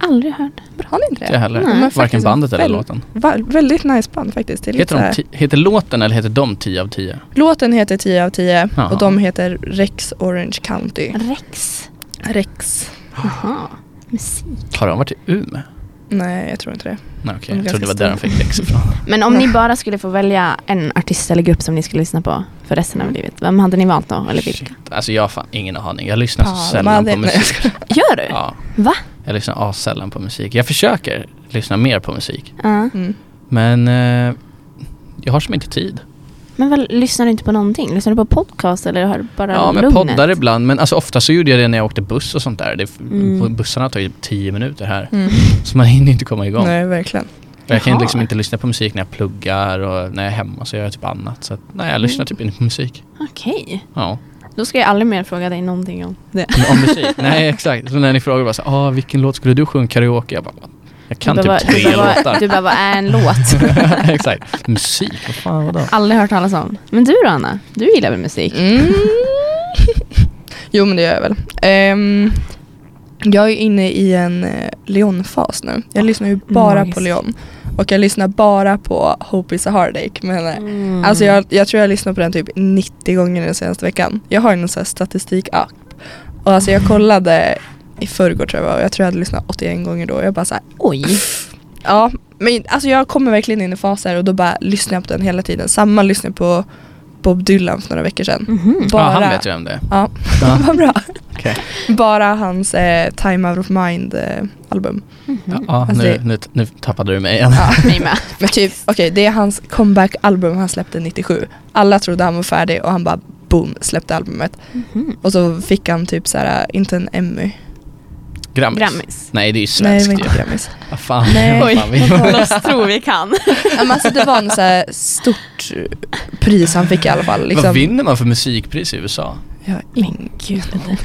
Speaker 4: Aldrig hört.
Speaker 2: Har ni inte det?
Speaker 1: Inte jag heller.
Speaker 4: Nej.
Speaker 2: De är
Speaker 1: Varken
Speaker 2: faktiskt
Speaker 1: bandet eller
Speaker 2: väl-
Speaker 1: låten.
Speaker 2: va- Väldigt nice band faktiskt. Det är lite
Speaker 1: Heter,
Speaker 2: så
Speaker 1: de
Speaker 2: här-
Speaker 1: ti- heter låten eller heter de 10 av 10?
Speaker 2: Låten heter 10 av 10
Speaker 1: Jaha.
Speaker 2: och de heter Rex Orange County.
Speaker 4: Rex.
Speaker 2: Rex.
Speaker 4: Jaha. Musik.
Speaker 1: Har de varit i Umeå?
Speaker 2: Nej, jag tror inte det.
Speaker 1: Nej okej,
Speaker 2: De är
Speaker 1: jag trodde det var
Speaker 2: ganska
Speaker 1: där de fick växa ifrån.
Speaker 4: Men om ni bara skulle få välja en artist eller grupp som ni skulle lyssna på för resten av livet. Vem hade ni valt då? Eller vilka?
Speaker 1: Mm. Shit. Alltså jag har fan ingen aning. Jag lyssnar så
Speaker 2: Ja, de
Speaker 1: Alltså, sällan
Speaker 2: hade-
Speaker 1: på
Speaker 2: nej, jag
Speaker 1: musik.
Speaker 4: Gör du?
Speaker 1: Ja,
Speaker 4: Va?
Speaker 1: jag lyssnar sällan på musik. Jag försöker lyssna mer på musik.
Speaker 4: Ja.
Speaker 2: Mm.
Speaker 1: Men eh, jag har som inte tid.
Speaker 4: Men väl, lyssnar du inte på någonting? Lyssnar du på podcast eller har du bara
Speaker 1: Ja, men
Speaker 4: lugnet?
Speaker 1: poddar ibland. Men alltså ofta så gjorde jag det när jag åkte buss och sånt där. Det,
Speaker 4: Mm.
Speaker 1: Bussarna tar ju tio minuter här.
Speaker 2: Mm.
Speaker 1: Så man hinner inte komma igång.
Speaker 2: Nej, verkligen.
Speaker 1: Jag kan ju
Speaker 4: Jaha.
Speaker 1: liksom inte lyssna på musik när jag pluggar och när jag är hemma så gör jag typ annat. Så att, nej, jag
Speaker 2: Mm.
Speaker 1: lyssnar typ inte på musik.
Speaker 4: Okej.
Speaker 1: Ja.
Speaker 4: Då ska jag aldrig mer fråga dig någonting om det.
Speaker 1: Men om musik? nej, exakt. Så när ni frågar bara så, ah, vilken låt skulle du sjunga karaoke? Jag bara, jag kan
Speaker 4: du bara,
Speaker 1: typ tre
Speaker 4: du bara,
Speaker 1: låtar.
Speaker 4: Du bara, vad är en låt?
Speaker 1: exakt. Musik, vad fan vadå?
Speaker 4: aldrig hört talas om. Men du då Anna? Du gillar väl musik?
Speaker 2: Mm. jo, men det gör jag väl. Ehm, jag är inne i en eh, Leon-fas nu. Jag lyssnar ju bara
Speaker 4: Ah, nice.
Speaker 2: på Leon. Och jag lyssnar bara på Hope is a heartache. Men,
Speaker 4: Mm.
Speaker 2: eh, Alltså jag, jag tror jag har lyssnat på den typ 90 gånger den senaste veckan. Jag har ju någon sån här statistikapp. Och alltså jag kollade i förrgår tror jag det var, och jag tror jag hade lyssnat 81 gånger då. Jag bara såhär,
Speaker 4: Oj.
Speaker 2: ja. Men alltså jag kommer verkligen in i faser och då bara lyssnar jag på den hela tiden. Samma lyssnade på Bob Dylan för några veckor sedan.
Speaker 4: Mhm.
Speaker 1: Ja, han vet ju vem det är.
Speaker 2: Ja,
Speaker 1: Ja.
Speaker 2: vad bra.
Speaker 1: Okej.
Speaker 2: Bara hans eh, Time Out of Mind eh, album.
Speaker 1: Ja, ja,
Speaker 2: Alltså
Speaker 1: nu,
Speaker 2: det-
Speaker 1: nu, nu tappade du mig igen.
Speaker 4: Mm-hmm. Mig med.
Speaker 2: Men typ, okej det är hans comeback album han släppte 97. Alla trodde han var färdig och han bara boom släppte albumet.
Speaker 4: Mhm.
Speaker 2: Och så fick han typ såhär, inte en Emmy.
Speaker 1: Grammis.
Speaker 4: Grammis.
Speaker 1: Nej, det är ju
Speaker 2: Nej det
Speaker 1: svenskt
Speaker 2: var
Speaker 1: ju.
Speaker 2: inte Grammis.
Speaker 1: Vad fan.
Speaker 2: Nej.
Speaker 1: Vad fan vill man?
Speaker 4: Låt tro vi kan.
Speaker 2: Ja, men alltså, det var en så här stort pris han fick i alla fall. Liksom.
Speaker 1: Vad vinner man för musikpris i USA?
Speaker 2: Jag har ingen aning.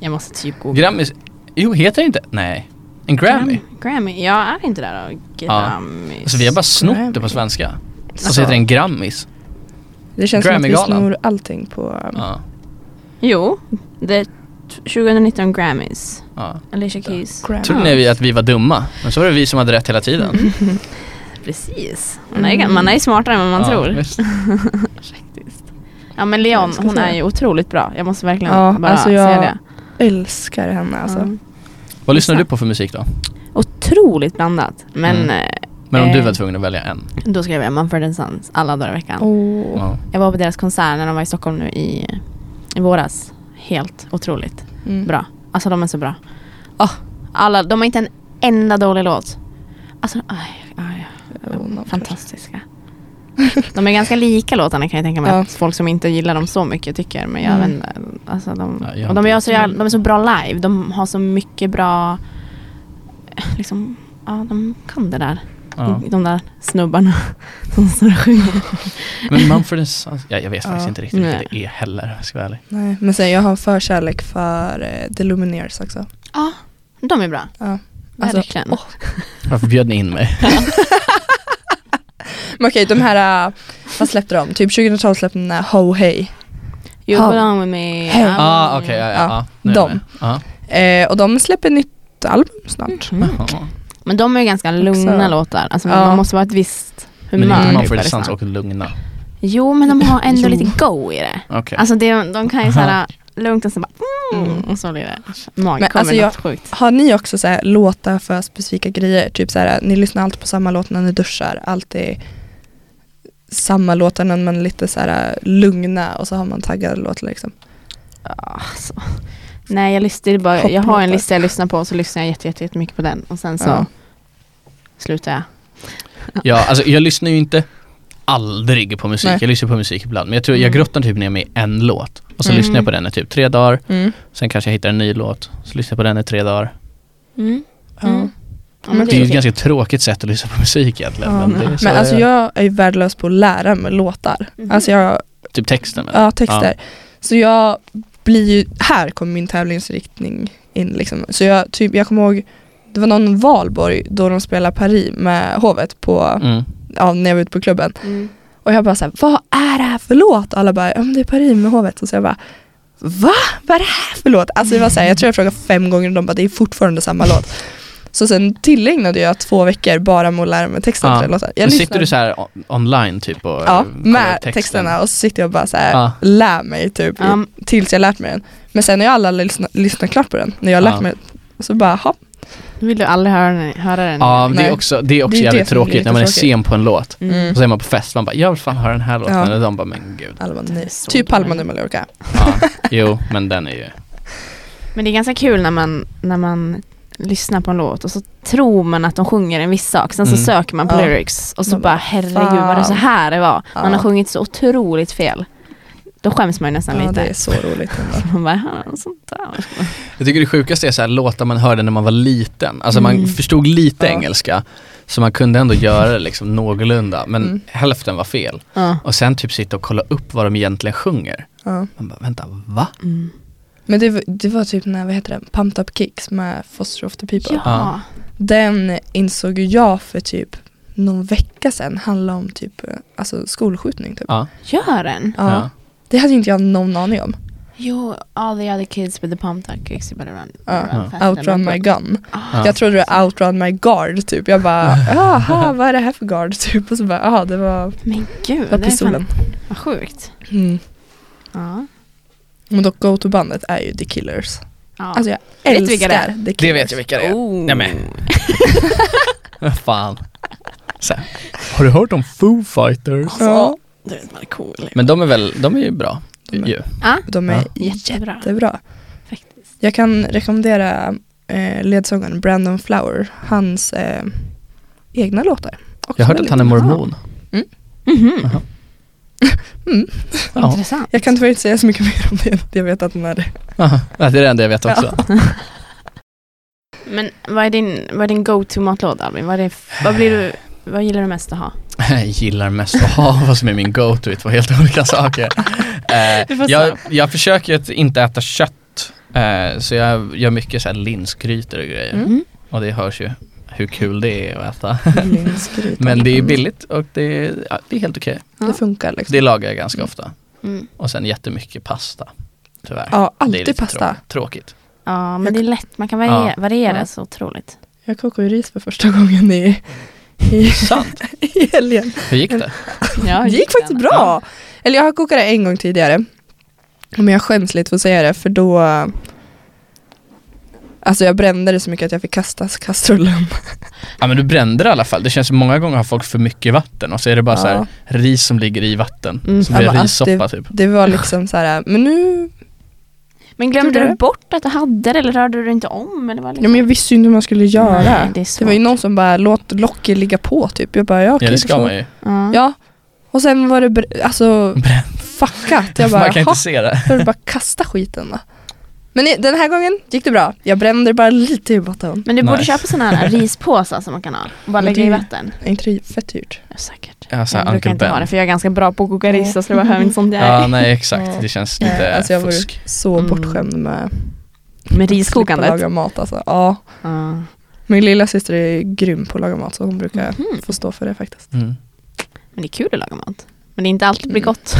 Speaker 4: Jag måste typ googla.
Speaker 1: Grammis? Jo, heter det inte? Nej. En Grammy?
Speaker 4: Gram- Grammy. Jag är inte där då. Grammis.
Speaker 1: Alltså vi har bara snott det på
Speaker 2: Grammy.
Speaker 1: svenska. Och
Speaker 2: Alltså.
Speaker 1: så heter det en Grammis.
Speaker 2: Det känns som att vi
Speaker 1: Grammy-galan.
Speaker 2: snor allting på... um,
Speaker 1: Ja,
Speaker 4: Jo. Det är t- 2019 Grammys.
Speaker 1: ja.
Speaker 4: Alicia Keys.
Speaker 2: Grammy.
Speaker 1: Trodde ni att vi var dumma? Men så var det vi som hade rätt hela tiden.
Speaker 4: Precis. Man är,
Speaker 2: Mm.
Speaker 4: man är ju smartare än vad man
Speaker 1: ja,
Speaker 4: tror.
Speaker 1: visst.
Speaker 4: Faktiskt. Ja men Leon,
Speaker 2: Jag ska
Speaker 4: hon
Speaker 2: säga.
Speaker 4: är ju otroligt bra. Jag måste verkligen
Speaker 2: Ja,
Speaker 4: bara
Speaker 2: alltså jag-
Speaker 4: säga det.
Speaker 2: Älskar henne alltså.
Speaker 4: Ja.
Speaker 1: Vad lyssnar du på för musik då?
Speaker 4: Otroligt blandat. Men
Speaker 1: Mm.
Speaker 4: eh,
Speaker 1: Men om du
Speaker 4: Eh.
Speaker 1: var tvungen att välja en?
Speaker 4: då skrev jag Manfred Sons alla dagar i veckan.
Speaker 2: Oh. Åh.
Speaker 1: Ja.
Speaker 4: Jag var på deras konsert när de var i Stockholm nu i, i våras. Helt otroligt
Speaker 2: Mm.
Speaker 4: bra. Alltså de är så bra. Åh, alla, de har inte en enda dålig låt. Alltså, aj, aj,
Speaker 2: Hon har-
Speaker 4: fantastiska. De är ganska lika låtarna kan jag tänka mig.
Speaker 2: Ja.
Speaker 4: Att folk som inte gillar dem så mycket tycker. Men jag
Speaker 2: Mm.
Speaker 4: vet inte. Alltså de,
Speaker 1: Ja, jag har
Speaker 4: och de,
Speaker 1: inte
Speaker 4: gör så, jävla- de är så bra live. De har så mycket bra... eh, Liksom, ja, de kan det där.
Speaker 1: Ja.
Speaker 4: De där snubbarna som står och sjunger.
Speaker 1: Men Mumford Sons, ja, jag vet
Speaker 2: Ja.
Speaker 1: faktiskt inte riktigt
Speaker 4: Nej.
Speaker 1: vilket det är heller, om jag ska vara ärlig.
Speaker 2: Nej, men sen jag har en förkärlek för eh, The Lumineers också.
Speaker 4: Ja, de är bra.
Speaker 2: Ja. Alltså,
Speaker 4: Verkligen.
Speaker 2: åh.
Speaker 1: Varför bjöd ni in mig?
Speaker 2: Men okej, de här, eh, vad släppte de? Typ 2012 släppte de den här Ho Hey.
Speaker 4: You
Speaker 2: Ja.
Speaker 4: belong with me.
Speaker 2: Hej.
Speaker 4: I'm
Speaker 1: ah,
Speaker 4: on
Speaker 1: okej, ja, ja,
Speaker 2: Ja,
Speaker 1: ja. Nu är jag
Speaker 2: dem.
Speaker 1: med. Ja.
Speaker 2: Eh, och de släpper nytt album snart.
Speaker 4: you. Mm.
Speaker 1: Jaha.
Speaker 4: Men de är ju ganska lugna låtar. Alltså,
Speaker 2: Ja.
Speaker 4: Man måste vara ett visst humör.
Speaker 1: Men inte
Speaker 2: Nej.
Speaker 4: typ,
Speaker 1: Mumford
Speaker 4: eller
Speaker 1: Sons
Speaker 4: så.
Speaker 1: och Lugna.
Speaker 4: Jo, men de har ändå
Speaker 2: Jo.
Speaker 4: lite go i det.
Speaker 1: Okej.
Speaker 4: Alltså de, de kan ju
Speaker 1: Aha.
Speaker 4: såhär lugnt och så bara mm, och så blir det
Speaker 2: Men
Speaker 4: magiskt.
Speaker 2: alltså
Speaker 4: Kommer
Speaker 2: jag-
Speaker 4: något sjukt.
Speaker 2: Har ni också så här, låtar för specifika grejer? Typ så här, ni lyssnar alltid på samma låt när ni duschar, alltid samma låtar när eh, man är lite så här lugna och så har man taggade låtar liksom.
Speaker 4: Alltså, Nej, jag, lyssnar, det är bara, jag har
Speaker 2: Poplåtar.
Speaker 4: en lista jag lyssnar på och så lyssnar jag jätte, jätte, jättemycket på den. Och sen så
Speaker 2: Ja.
Speaker 4: slutar jag.
Speaker 1: Ja, alltså jag lyssnar ju inte aldrig på musik.
Speaker 2: Nej.
Speaker 1: Jag lyssnar på musik ibland. Men jag tror jag
Speaker 4: Mm.
Speaker 1: grottar typ ner mig i en låt. Och så
Speaker 4: Mm.
Speaker 1: lyssnar jag på den i typ tre dagar.
Speaker 2: Mm.
Speaker 1: Sen kanske jag hittar en ny låt. Så lyssnar jag på den i tre dagar.
Speaker 2: Ja.
Speaker 4: Mm.
Speaker 3: Ja, men
Speaker 1: Det är
Speaker 3: okej.
Speaker 1: ju ett ganska tråkigt sätt att lyssna på musik egentligen.
Speaker 2: Ja,
Speaker 1: men det är
Speaker 2: men
Speaker 1: så
Speaker 2: alltså jag är ju värdelös på att lära mig låtar.
Speaker 4: Mm.
Speaker 3: Mhm.
Speaker 2: Alltså jag,
Speaker 1: Typ texten. eller?
Speaker 2: ja texter. Så jag blir ju, här kommer min tävlingsriktning in liksom. Så jag, typ, jag kommer ihåg, det var någon valborg då de spelade Paris med hovet på,
Speaker 1: Mm.
Speaker 2: ja, när jag var ute på klubben.
Speaker 3: Mm.
Speaker 2: Och jag bara såhär, vad är det här för låt? Och alla bara, ja men det är Paris med hovet. Och så jag bara, va? Vad är det här för låt? Alltså det var såhär, jag tror jag frågade fem gånger och de bara, det är fortfarande samma låt. Så sen tillägnade jag två veckor bara med att lära mig texten
Speaker 1: Ja.
Speaker 2: till den låten.
Speaker 1: Men
Speaker 2: Jag
Speaker 1: sitter
Speaker 2: lyssnar-
Speaker 1: du så här o- online typ och eh,
Speaker 2: Ja,
Speaker 1: kollar
Speaker 2: med texterna och så sitter jag bara såhär,
Speaker 1: Ja.
Speaker 2: lär mig typ,
Speaker 4: Ja.
Speaker 2: tills jag lärt mig den. Men sen när jag alla lyssnat, lyssnat klart på den, när jag har
Speaker 1: Ja.
Speaker 2: lärt mig så bara, jaha.
Speaker 4: Nu vill du aldrig höra den. Höra den.
Speaker 1: Ja, men det är
Speaker 2: Nej.
Speaker 1: också, det är också
Speaker 2: Det är det
Speaker 1: jävligt
Speaker 2: som blir
Speaker 1: tråkigt när man är
Speaker 2: jättetråkigt.
Speaker 1: sen på en låt.
Speaker 4: Mm.
Speaker 1: Och så är man på fest, man bara jag vill fan höra den här låten.
Speaker 2: Ja.
Speaker 1: Och de bara men gud.
Speaker 2: Alla bara,
Speaker 4: Det är
Speaker 2: nej.
Speaker 4: så
Speaker 2: Typ Palma
Speaker 4: kul.
Speaker 2: de Mallorca.
Speaker 1: Ja, jo men den är ju,
Speaker 4: Men det är ganska kul när man, när man lyssnar på en låt och så tror man att de sjunger en viss sak. Sen så
Speaker 1: Mm.
Speaker 4: söker man på
Speaker 2: Ja.
Speaker 4: lyrics och så
Speaker 2: Man
Speaker 4: bara
Speaker 2: bara,
Speaker 4: herregud
Speaker 2: fan."
Speaker 4: var det så här det var. Man
Speaker 2: Ja.
Speaker 4: har sjungit så otroligt fel. Då skäms man ju nästan
Speaker 2: Ja,
Speaker 4: lite.
Speaker 2: det är så roligt ändå.
Speaker 4: Man bara, "Ja, sånt där.
Speaker 1: jag tycker det sjukaste är så här låtar man hörde när man var liten. Alltså man
Speaker 4: Mm.
Speaker 1: förstod lite
Speaker 2: Ja.
Speaker 1: engelska, så man kunde ändå göra det liksom någorlunda. Men
Speaker 2: Mm.
Speaker 1: hälften var fel.
Speaker 4: Ja.
Speaker 1: Och sen typ sitta och kolla upp vad de egentligen sjunger.
Speaker 2: Ja.
Speaker 1: Man bara vänta, va?
Speaker 4: Mm.
Speaker 2: Men det, var- det var typ när, vad heter den, Pumped Up Kicks med Foster of the People.
Speaker 4: Ja.
Speaker 2: Den insåg ju jag för typ någon vecka sedan handla om typ eh, alltså skolskjutning typ.
Speaker 1: Ja.
Speaker 4: Gör den?
Speaker 2: Ja. Det hade ju inte jag någon aning om.
Speaker 4: Jo, all the other kids with the pump tuck you better run.
Speaker 2: Ja.
Speaker 4: run
Speaker 1: Ja.
Speaker 4: faster
Speaker 2: Outrun
Speaker 4: than
Speaker 2: my
Speaker 4: quick.
Speaker 2: gun.
Speaker 4: Ah,
Speaker 1: Ja.
Speaker 2: Jag trodde det var outrun my guard typ. Jag bara, jaha vad är det här för guard typ? Och så bara, jaha det var,
Speaker 4: Men gud,
Speaker 2: det var
Speaker 4: det är fan,
Speaker 2: pistolen.
Speaker 4: vad sjukt.
Speaker 2: Mm.
Speaker 4: Ja.
Speaker 2: Men dock Go-To-bandet är ju The Killers.
Speaker 4: Ja.
Speaker 2: Alltså jag
Speaker 4: Vet du vilka det är?
Speaker 2: älskar The Killers.
Speaker 1: Det vet jag vilka det är.
Speaker 4: Oh.
Speaker 1: Nej, men.
Speaker 2: Oh.
Speaker 1: Fan. Så här, har du hört om Foo Fighters?
Speaker 2: Ja,
Speaker 4: Du vet, man är cool.
Speaker 1: Men de är väl, de är ju bra.
Speaker 2: De är-
Speaker 1: Ju.
Speaker 2: de är
Speaker 4: Jättebra.
Speaker 2: jättebra.
Speaker 4: Faktiskt.
Speaker 2: Jag kan rekommendera eh, ledsångaren Brandon Flower, hans eh, egna låtar. Också
Speaker 1: Jag hörde att
Speaker 2: väldigt
Speaker 1: han är
Speaker 2: bra.
Speaker 1: mormon.
Speaker 4: Mhm.
Speaker 1: Jaha.
Speaker 2: Mm.
Speaker 1: Ja.
Speaker 4: Intressant.
Speaker 2: Jag kan tyvärr inte säga så mycket mer om det, jag vet att den är det.
Speaker 1: Aha, det är det enda jag vet också.
Speaker 4: Men vad är din, vad är din go-to matlåda Albin? Vad, är det, vad, blir du, vad gillar du mest att ha?
Speaker 1: Jag gillar mest att ha vad som är min go-to i två helt olika saker.
Speaker 4: Du
Speaker 1: Eh,
Speaker 4: får
Speaker 1: jag,
Speaker 4: säga.
Speaker 1: jag försöker att inte äta kött, eh, så jag gör mycket så här linsgrytor och grejer.
Speaker 2: Mm.
Speaker 1: Och det hörs ju hur kul det är att äta.
Speaker 2: Linsgryta.
Speaker 1: Men det är billigt och det är, ja, det är helt okej.
Speaker 2: liksom- Det funkar liksom.
Speaker 1: Det lagar jag ganska ofta.
Speaker 4: Mm.
Speaker 1: Och sen jättemycket pasta, tyvärr.
Speaker 2: Ja,
Speaker 1: Det är lite
Speaker 2: alltid pasta.
Speaker 1: trå- Tråkigt.
Speaker 4: Ja, men
Speaker 2: Jag-
Speaker 4: det är lätt. Man kan variera, variera
Speaker 2: Ja.
Speaker 4: så otroligt.
Speaker 2: Jag kokade ju ris för första gången i, i,
Speaker 1: Sant.
Speaker 2: i helgen.
Speaker 1: Hur gick det?
Speaker 4: Ja,
Speaker 2: Det gick faktiskt bra. Eller jag har kokat det en gång tidigare. Men jag skäms lite för att säga det för då Alltså jag brände det så mycket att jag fick kasta kastrullen.
Speaker 1: Ja men du brände det i alla fall. Det känns som många gånger har folk för mycket vatten och så är det bara så här
Speaker 2: Ja.
Speaker 1: ris som ligger i vatten.
Speaker 4: Mm.
Speaker 1: Så blir
Speaker 2: Ja,
Speaker 1: det
Speaker 2: men
Speaker 1: rissoppa typ.
Speaker 2: Det var liksom så här, men nu,
Speaker 4: Men glömde
Speaker 2: Gjorde
Speaker 4: du
Speaker 2: det?
Speaker 4: bort att du hade det eller rörde du det inte om? Eller vad
Speaker 2: ja, men jag visste ju inte hur man skulle göra.
Speaker 4: Nej, det är
Speaker 2: det var ju någon som bara, låt locket ligga på typ. Jag bara, ja okej.
Speaker 1: Ja det
Speaker 2: då
Speaker 1: ska
Speaker 2: får-
Speaker 1: man ju.
Speaker 4: ja.
Speaker 2: Ja. Och sen var det, br- alltså
Speaker 1: Bränn.
Speaker 2: fuckat. Jag bara,
Speaker 1: man kan
Speaker 2: "Jaha."
Speaker 1: inte se det.
Speaker 2: Då är det bara att kasta skiten då. Men i- den här gången gick det bra. Jag brände bara lite i botten.
Speaker 4: Men du borde
Speaker 1: Nice.
Speaker 4: köpa sådana här rispåsar som man kan ha. Och bara
Speaker 2: Men
Speaker 4: lägga
Speaker 2: det-
Speaker 4: i vatten.
Speaker 2: Är inte det fett dyrt?
Speaker 4: Ja, säkert.
Speaker 1: Ja, så här
Speaker 4: jag
Speaker 1: Uncle
Speaker 4: brukar inte ha det
Speaker 1: Ben.
Speaker 4: för jag är ganska bra på att koka ris och slå hövn sånt
Speaker 1: Ja
Speaker 4: där.
Speaker 1: nej exakt,
Speaker 2: Ja.
Speaker 1: det känns
Speaker 2: Nej,
Speaker 1: lite
Speaker 2: alltså jag var ju
Speaker 1: fusk.
Speaker 2: så
Speaker 4: Mm.
Speaker 2: bortskämd med
Speaker 4: Med
Speaker 2: att slippa
Speaker 4: riskokandet.
Speaker 2: laga mat alltså. Ja.
Speaker 4: Ja.
Speaker 2: Min lilla syster är grym på att laga mat så hon
Speaker 4: Mm.
Speaker 2: brukar få stå för det faktiskt.
Speaker 1: Mm.
Speaker 4: Mhm. Men det är kul att laga mat. Men det är inte alltid blir
Speaker 2: Mm.
Speaker 4: gott.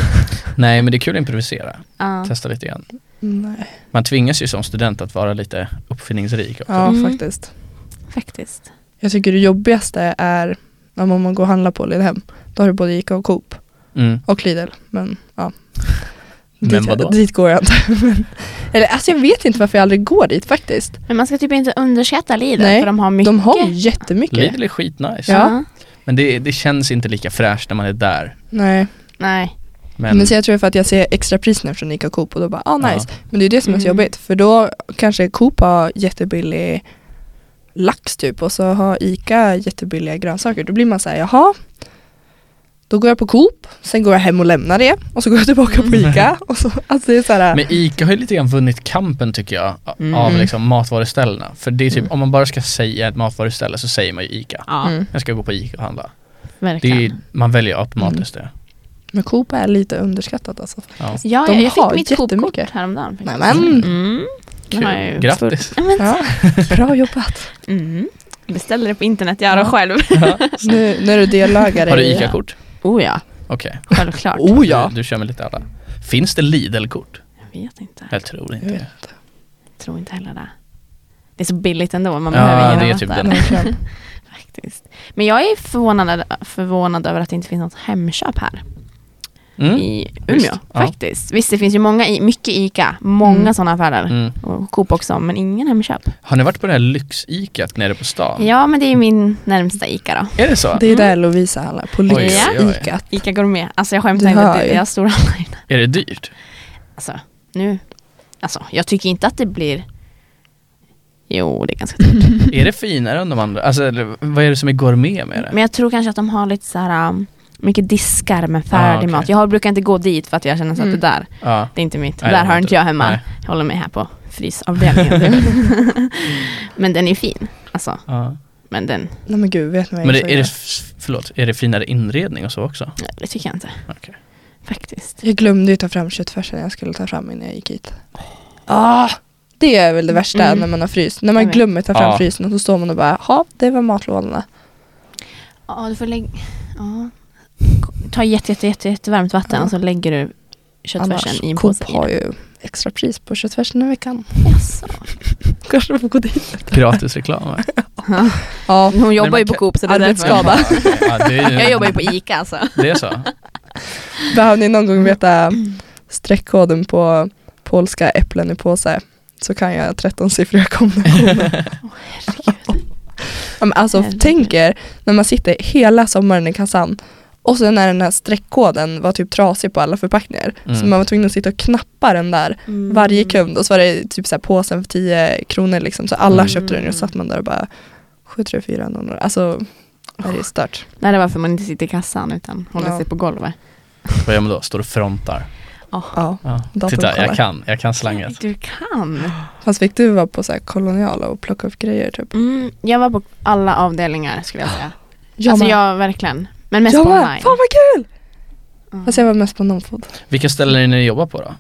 Speaker 1: Nej men det är kul att improvisera,
Speaker 4: Ja.
Speaker 1: testa lite grann.
Speaker 2: Nej.
Speaker 1: Man tvingas ju som student att vara lite uppfinningsrik. också.
Speaker 2: Ja
Speaker 4: Mm.
Speaker 2: faktiskt.
Speaker 4: Faktiskt.
Speaker 2: Jag tycker det jobbigaste är när man går och handlar på Lidhem. Då har du både Ica och Coop
Speaker 1: Mm.
Speaker 2: och Lidl. Men ja.
Speaker 1: Men
Speaker 2: dit,
Speaker 1: vadå?
Speaker 2: dit går jag inte. Men, eller alltså jag vet inte varför jag aldrig går dit faktiskt.
Speaker 4: Men man ska typ inte underskatta Lidl
Speaker 2: Nej,
Speaker 4: för de har mycket.
Speaker 2: De har ju jättemycket.
Speaker 1: Lidl är skitnice.
Speaker 2: Ja.
Speaker 1: Men det, det känns inte lika fräscht när man är där.
Speaker 2: Nej.
Speaker 4: Nej.
Speaker 1: Men,
Speaker 2: Men så jag tror för att jag ser extra pris nu från Ica och Coop och då bara, ah nice.
Speaker 1: Ja.
Speaker 2: Men det är det som är så
Speaker 4: Mm.
Speaker 2: jobbigt för då kanske Coop har jättebillig lax typ och så har Ica jättebilliga grönsaker. Då blir man så här, jaha. Då går jag på Coop, sen går jag hem och lämnar det och så går jag tillbaka på Ica. Och så, alltså det är så här,
Speaker 1: Mm. men Ica har ju lite grann vunnit kampen tycker jag a-
Speaker 4: Mm.
Speaker 1: av liksom matvaruställena. För det är typ,
Speaker 2: Mm.
Speaker 1: om man bara ska säga ett matvaruställe så säger man ju Ica.
Speaker 4: Ja,
Speaker 2: mm.
Speaker 1: Jag ska gå på Ica och handla. Det
Speaker 4: verkligen.
Speaker 1: är, man väljer automatiskt det.
Speaker 2: men Coop är lite underskattat alltså.
Speaker 1: Ja.
Speaker 4: Ja,
Speaker 2: De
Speaker 4: jag, jag
Speaker 2: har
Speaker 4: fick mitt
Speaker 2: jättemycket.
Speaker 4: Coop-kort häromdagen. faktiskt.
Speaker 2: Nämen.
Speaker 4: Mm. Det har jag
Speaker 1: Kul.
Speaker 4: ju
Speaker 1: Grattis!
Speaker 2: Ja, bra jobbat.
Speaker 4: stor- Mm. Beställde det på internet, jag har
Speaker 2: Ja.
Speaker 4: det själv.
Speaker 2: Nu när du delagare
Speaker 1: Har du
Speaker 2: i-
Speaker 1: Ica-kort?
Speaker 4: Oh ja,
Speaker 1: Okej.
Speaker 4: självklart. Mm.
Speaker 2: Oh ja.
Speaker 1: Du, du kör med lite alla. Finns det Lidl-kort?
Speaker 4: Jag vet inte.
Speaker 1: Jag tror inte
Speaker 2: Jag vet
Speaker 1: det.
Speaker 4: Jag tror inte heller det. Det är så billigt ändå, man
Speaker 1: Ja,
Speaker 4: behöver
Speaker 1: det
Speaker 4: ingen
Speaker 1: är
Speaker 4: annat
Speaker 1: typ
Speaker 4: där.
Speaker 1: den.
Speaker 2: Verkligen.
Speaker 4: Faktiskt. Men jag är förvånad, förvånad över att det inte finns något Hemköp här
Speaker 1: Mm.
Speaker 4: i
Speaker 1: Visst,
Speaker 4: Umeå.
Speaker 1: ja.
Speaker 4: Faktiskt. Visst, det finns ju många, i- mycket ICA, många
Speaker 2: Mm.
Speaker 4: sådana affärer.
Speaker 1: Mm.
Speaker 4: Och Coop också, men ingen Hemköp.
Speaker 1: Har ni varit på det här lyx-Icat nere på stan?
Speaker 4: Ja, men det är min närmsta ICA då.
Speaker 1: Är det så?
Speaker 2: Det är där Lovisa handlar, på
Speaker 1: Mm. Oj,
Speaker 4: oj,
Speaker 2: lyx
Speaker 4: oj.
Speaker 2: Ica.
Speaker 4: ICA Gourmet. Alltså jag
Speaker 2: Du
Speaker 4: skämtar inte,
Speaker 2: hör
Speaker 4: det-
Speaker 2: ju.
Speaker 4: jag har stora online.
Speaker 1: Är det dyrt?
Speaker 4: Alltså, nu. Alltså, jag tycker inte att det blir... Jo, det är ganska
Speaker 1: Mm.
Speaker 4: dyrt.
Speaker 1: Är det finare än de andra? Alltså eller, vad är det som är gourmet med
Speaker 2: Mm.
Speaker 1: det?
Speaker 4: Men jag tror kanske att de har lite så här um, mycket diskar med färdig
Speaker 1: Ah, okej.
Speaker 4: mat. Jag har- brukar inte gå dit för att jag känner så att
Speaker 2: Mm.
Speaker 4: det där,
Speaker 1: Ja.
Speaker 4: det är inte mitt.
Speaker 1: Nej,
Speaker 4: där
Speaker 1: det
Speaker 4: har
Speaker 1: var
Speaker 4: inte jag hemma.
Speaker 1: Nej.
Speaker 4: Jag håller mig här på frysavdelningen. men den är fin. Alltså,
Speaker 1: Ja.
Speaker 4: men den,
Speaker 2: Nej men gud, vet ni vad jag
Speaker 1: Men det,
Speaker 2: insåg
Speaker 1: är, det,
Speaker 2: idag?
Speaker 1: f- förlåt, är det finare inredning och så också?
Speaker 4: nej, det tycker jag inte.
Speaker 1: Okej.
Speaker 4: Faktiskt.
Speaker 2: Jag glömde ju ta fram köttfärsen jag skulle ta fram innan jag gick hit. Ah, det är väl det värsta
Speaker 4: Mm.
Speaker 2: när man har fryst. När
Speaker 4: Jag
Speaker 2: man
Speaker 4: vet.
Speaker 2: glömmer ta fram
Speaker 1: Ja.
Speaker 2: frysen och så står man och bara, ja det var matlådorna.
Speaker 4: Ja, du får lägga... Ja. Ta jätte, jätte, jätte, jättevarmt vatten
Speaker 2: Ja.
Speaker 4: och så lägger du
Speaker 2: Annars,
Speaker 4: köttfärsen i en
Speaker 2: Coop
Speaker 4: påse. i
Speaker 2: har
Speaker 4: den.
Speaker 2: ju extra pris på köttfärsen den veckan.
Speaker 4: Jaså.
Speaker 2: Kanske får gå dit.
Speaker 1: Gratis reklam va?
Speaker 2: Ja,
Speaker 4: Hon jobbar
Speaker 1: man
Speaker 4: ju på
Speaker 1: kan-
Speaker 4: Coop så det är därför.
Speaker 2: Arbetsskada.
Speaker 1: Jaha, okej. Ja, det är
Speaker 4: Jag jobbar ju på ICA alltså.
Speaker 1: Det är så?
Speaker 2: behöver ni någon gång veta streckkoden på polska äpplen i påse så kan jag 13-siffriga kombinationer. Ja, men alltså
Speaker 4: Herregud.
Speaker 2: tänk er när man sitter hela sommaren i kassan och sen när den här streckkoden var typ trasig på alla förpackningar så
Speaker 1: Mm.
Speaker 2: man var tvungen att sitta och knappa den där
Speaker 4: Mm.
Speaker 2: varje kund och så var det typ så här påsen för 10 kronor liksom så alla
Speaker 1: Mm.
Speaker 2: köpte den och så satt man där och bara 734 00. Alltså är det stört.
Speaker 4: Nej, det är varför man inte sitter i kassan utan håller
Speaker 2: Ja.
Speaker 4: sig på golvet.
Speaker 1: Vad gör man då? Står och frontar?
Speaker 2: Ja.
Speaker 1: Ja.
Speaker 2: Datorn
Speaker 1: Titta,
Speaker 2: kollar.
Speaker 1: jag kan, jag kan slanget.
Speaker 4: Du kan.
Speaker 2: Fast fick du vara på så här koloniala och plocka upp grejer typ?
Speaker 4: Mm, jag var på alla avdelningar skulle jag säga.
Speaker 2: Jag
Speaker 4: alltså
Speaker 2: med.
Speaker 4: jag verkligen. Men mest
Speaker 2: jag
Speaker 4: på
Speaker 2: med.
Speaker 4: online.
Speaker 2: Fan vad kul!
Speaker 4: Mm.
Speaker 2: Alltså jag var mest på Nomfood.
Speaker 1: Vilka ställen är ni jobbar på då?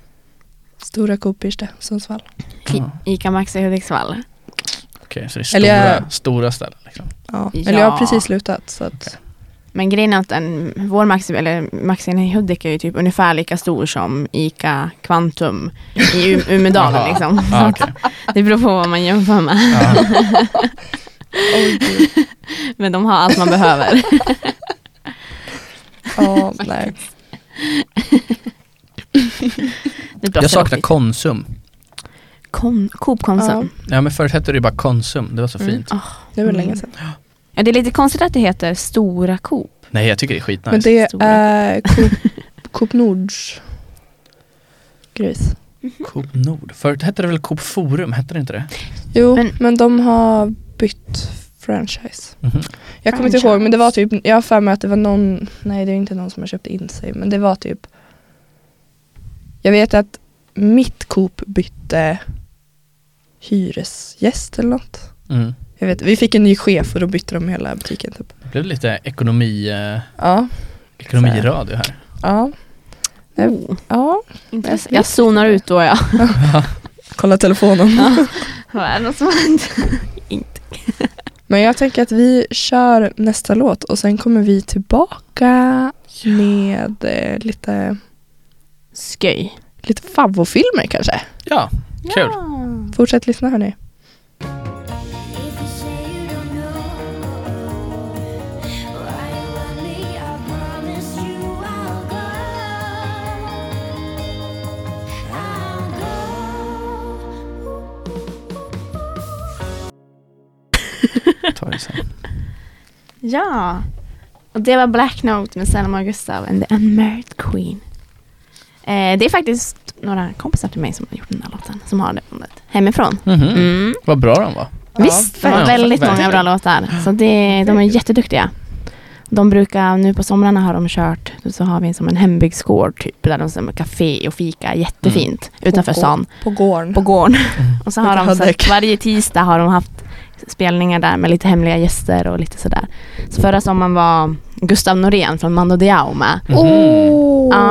Speaker 2: Stora Coop Birsta, Sundsvall.
Speaker 4: I-
Speaker 1: Ja.
Speaker 4: Ica Maxi i Hudiksvall.
Speaker 1: Okej, så det är
Speaker 2: Eller
Speaker 1: stora,
Speaker 2: jag-
Speaker 1: stora ställen liksom.
Speaker 2: Ja.
Speaker 4: Ja.
Speaker 2: Eller jag har precis slutat så att
Speaker 4: Men grejen är att en, vår Maxi, eller Maxin i Hudik är ju typ ungefär lika stor som Ica Kvantum i U- Umedalen
Speaker 1: Jaha.
Speaker 4: liksom.
Speaker 1: Ja, Ah, okej.
Speaker 4: Det beror på vad man jämför med.
Speaker 1: Ja.
Speaker 4: Men de har allt man behöver.
Speaker 2: ja, nej.
Speaker 4: Det blåser
Speaker 1: Jag saknar
Speaker 4: upp
Speaker 1: Konsum.
Speaker 4: lite. Kon- Coop Konsum.
Speaker 1: Ja men förut hette det ju bara Konsum, det var så
Speaker 4: Mm.
Speaker 1: fint.
Speaker 4: Ah.
Speaker 2: Det var
Speaker 4: Mm.
Speaker 2: länge sedan.
Speaker 4: Ja, det är lite konstigt att det heter Stora Coop.
Speaker 1: Nej jag tycker det är skitnice.
Speaker 2: Men det
Speaker 4: Stora.
Speaker 2: är Coop, Coop Nords grus.
Speaker 1: Coop Nord. Förut hette det väl Coop Forum, hette det inte det?
Speaker 2: Jo, men,
Speaker 4: Men-
Speaker 2: de har bytt franchise.
Speaker 1: Mhm.
Speaker 2: Jag kommer inte
Speaker 4: Franchise.
Speaker 2: ihåg men det var typ, jag har för mig att det var någon, nej det är inte någon som har köpt in sig men det var typ Jag vet att mitt Coop bytte hyresgäst eller något.
Speaker 1: Mm.
Speaker 2: Jag vet, vi fick en ny chef och då bytte de hela butiken typ.
Speaker 1: Det blev lite ekonomi, eh,
Speaker 2: Ja,
Speaker 1: ekonomiradio här.
Speaker 2: ja,
Speaker 4: Oh,
Speaker 2: ja.
Speaker 4: intressant. jag zonar ut då jag.
Speaker 2: Kolla telefonen.
Speaker 4: Vad är det något som har hänt? Inte.
Speaker 2: Men jag tänker att vi kör nästa låt och sen kommer vi tillbaka med eh, lite,
Speaker 4: Sköj.
Speaker 2: lite favvofilmer kanske.
Speaker 1: Ja, kul.
Speaker 4: Ja.
Speaker 2: Fortsätt lyssna hörni.
Speaker 5: If you say you don't know why you love me, I promise you I'll go. I'll go.
Speaker 1: Ta det sen.
Speaker 4: Ja. Och det var Black Note med Selma och Gustav and the Unmarried Queen. Eh, det är faktiskt några kompisar till mig som har gjort den här låten, som har det bandet hemifrån.
Speaker 1: Mhm.
Speaker 4: Mm.
Speaker 1: Vad bra den var.
Speaker 4: Visst, det var
Speaker 1: verkligen.
Speaker 4: väldigt många bra låtar. Så det, de är jätteduktiga. De brukar, nu på somrarna har de kört, så har vi som en hembygdsgård typ, där de har café och fika, jättefint, utanför
Speaker 2: På
Speaker 4: stan,
Speaker 2: På gården.
Speaker 4: på gården. Och så har de, så
Speaker 2: Däck.
Speaker 4: att varje tisdag har de haft spelningar där med lite hemliga gäster och lite sådär. Så förra sommaren var Gustav Norén från Mando Diao med.
Speaker 1: Mhm.
Speaker 2: Oh.
Speaker 4: Ja,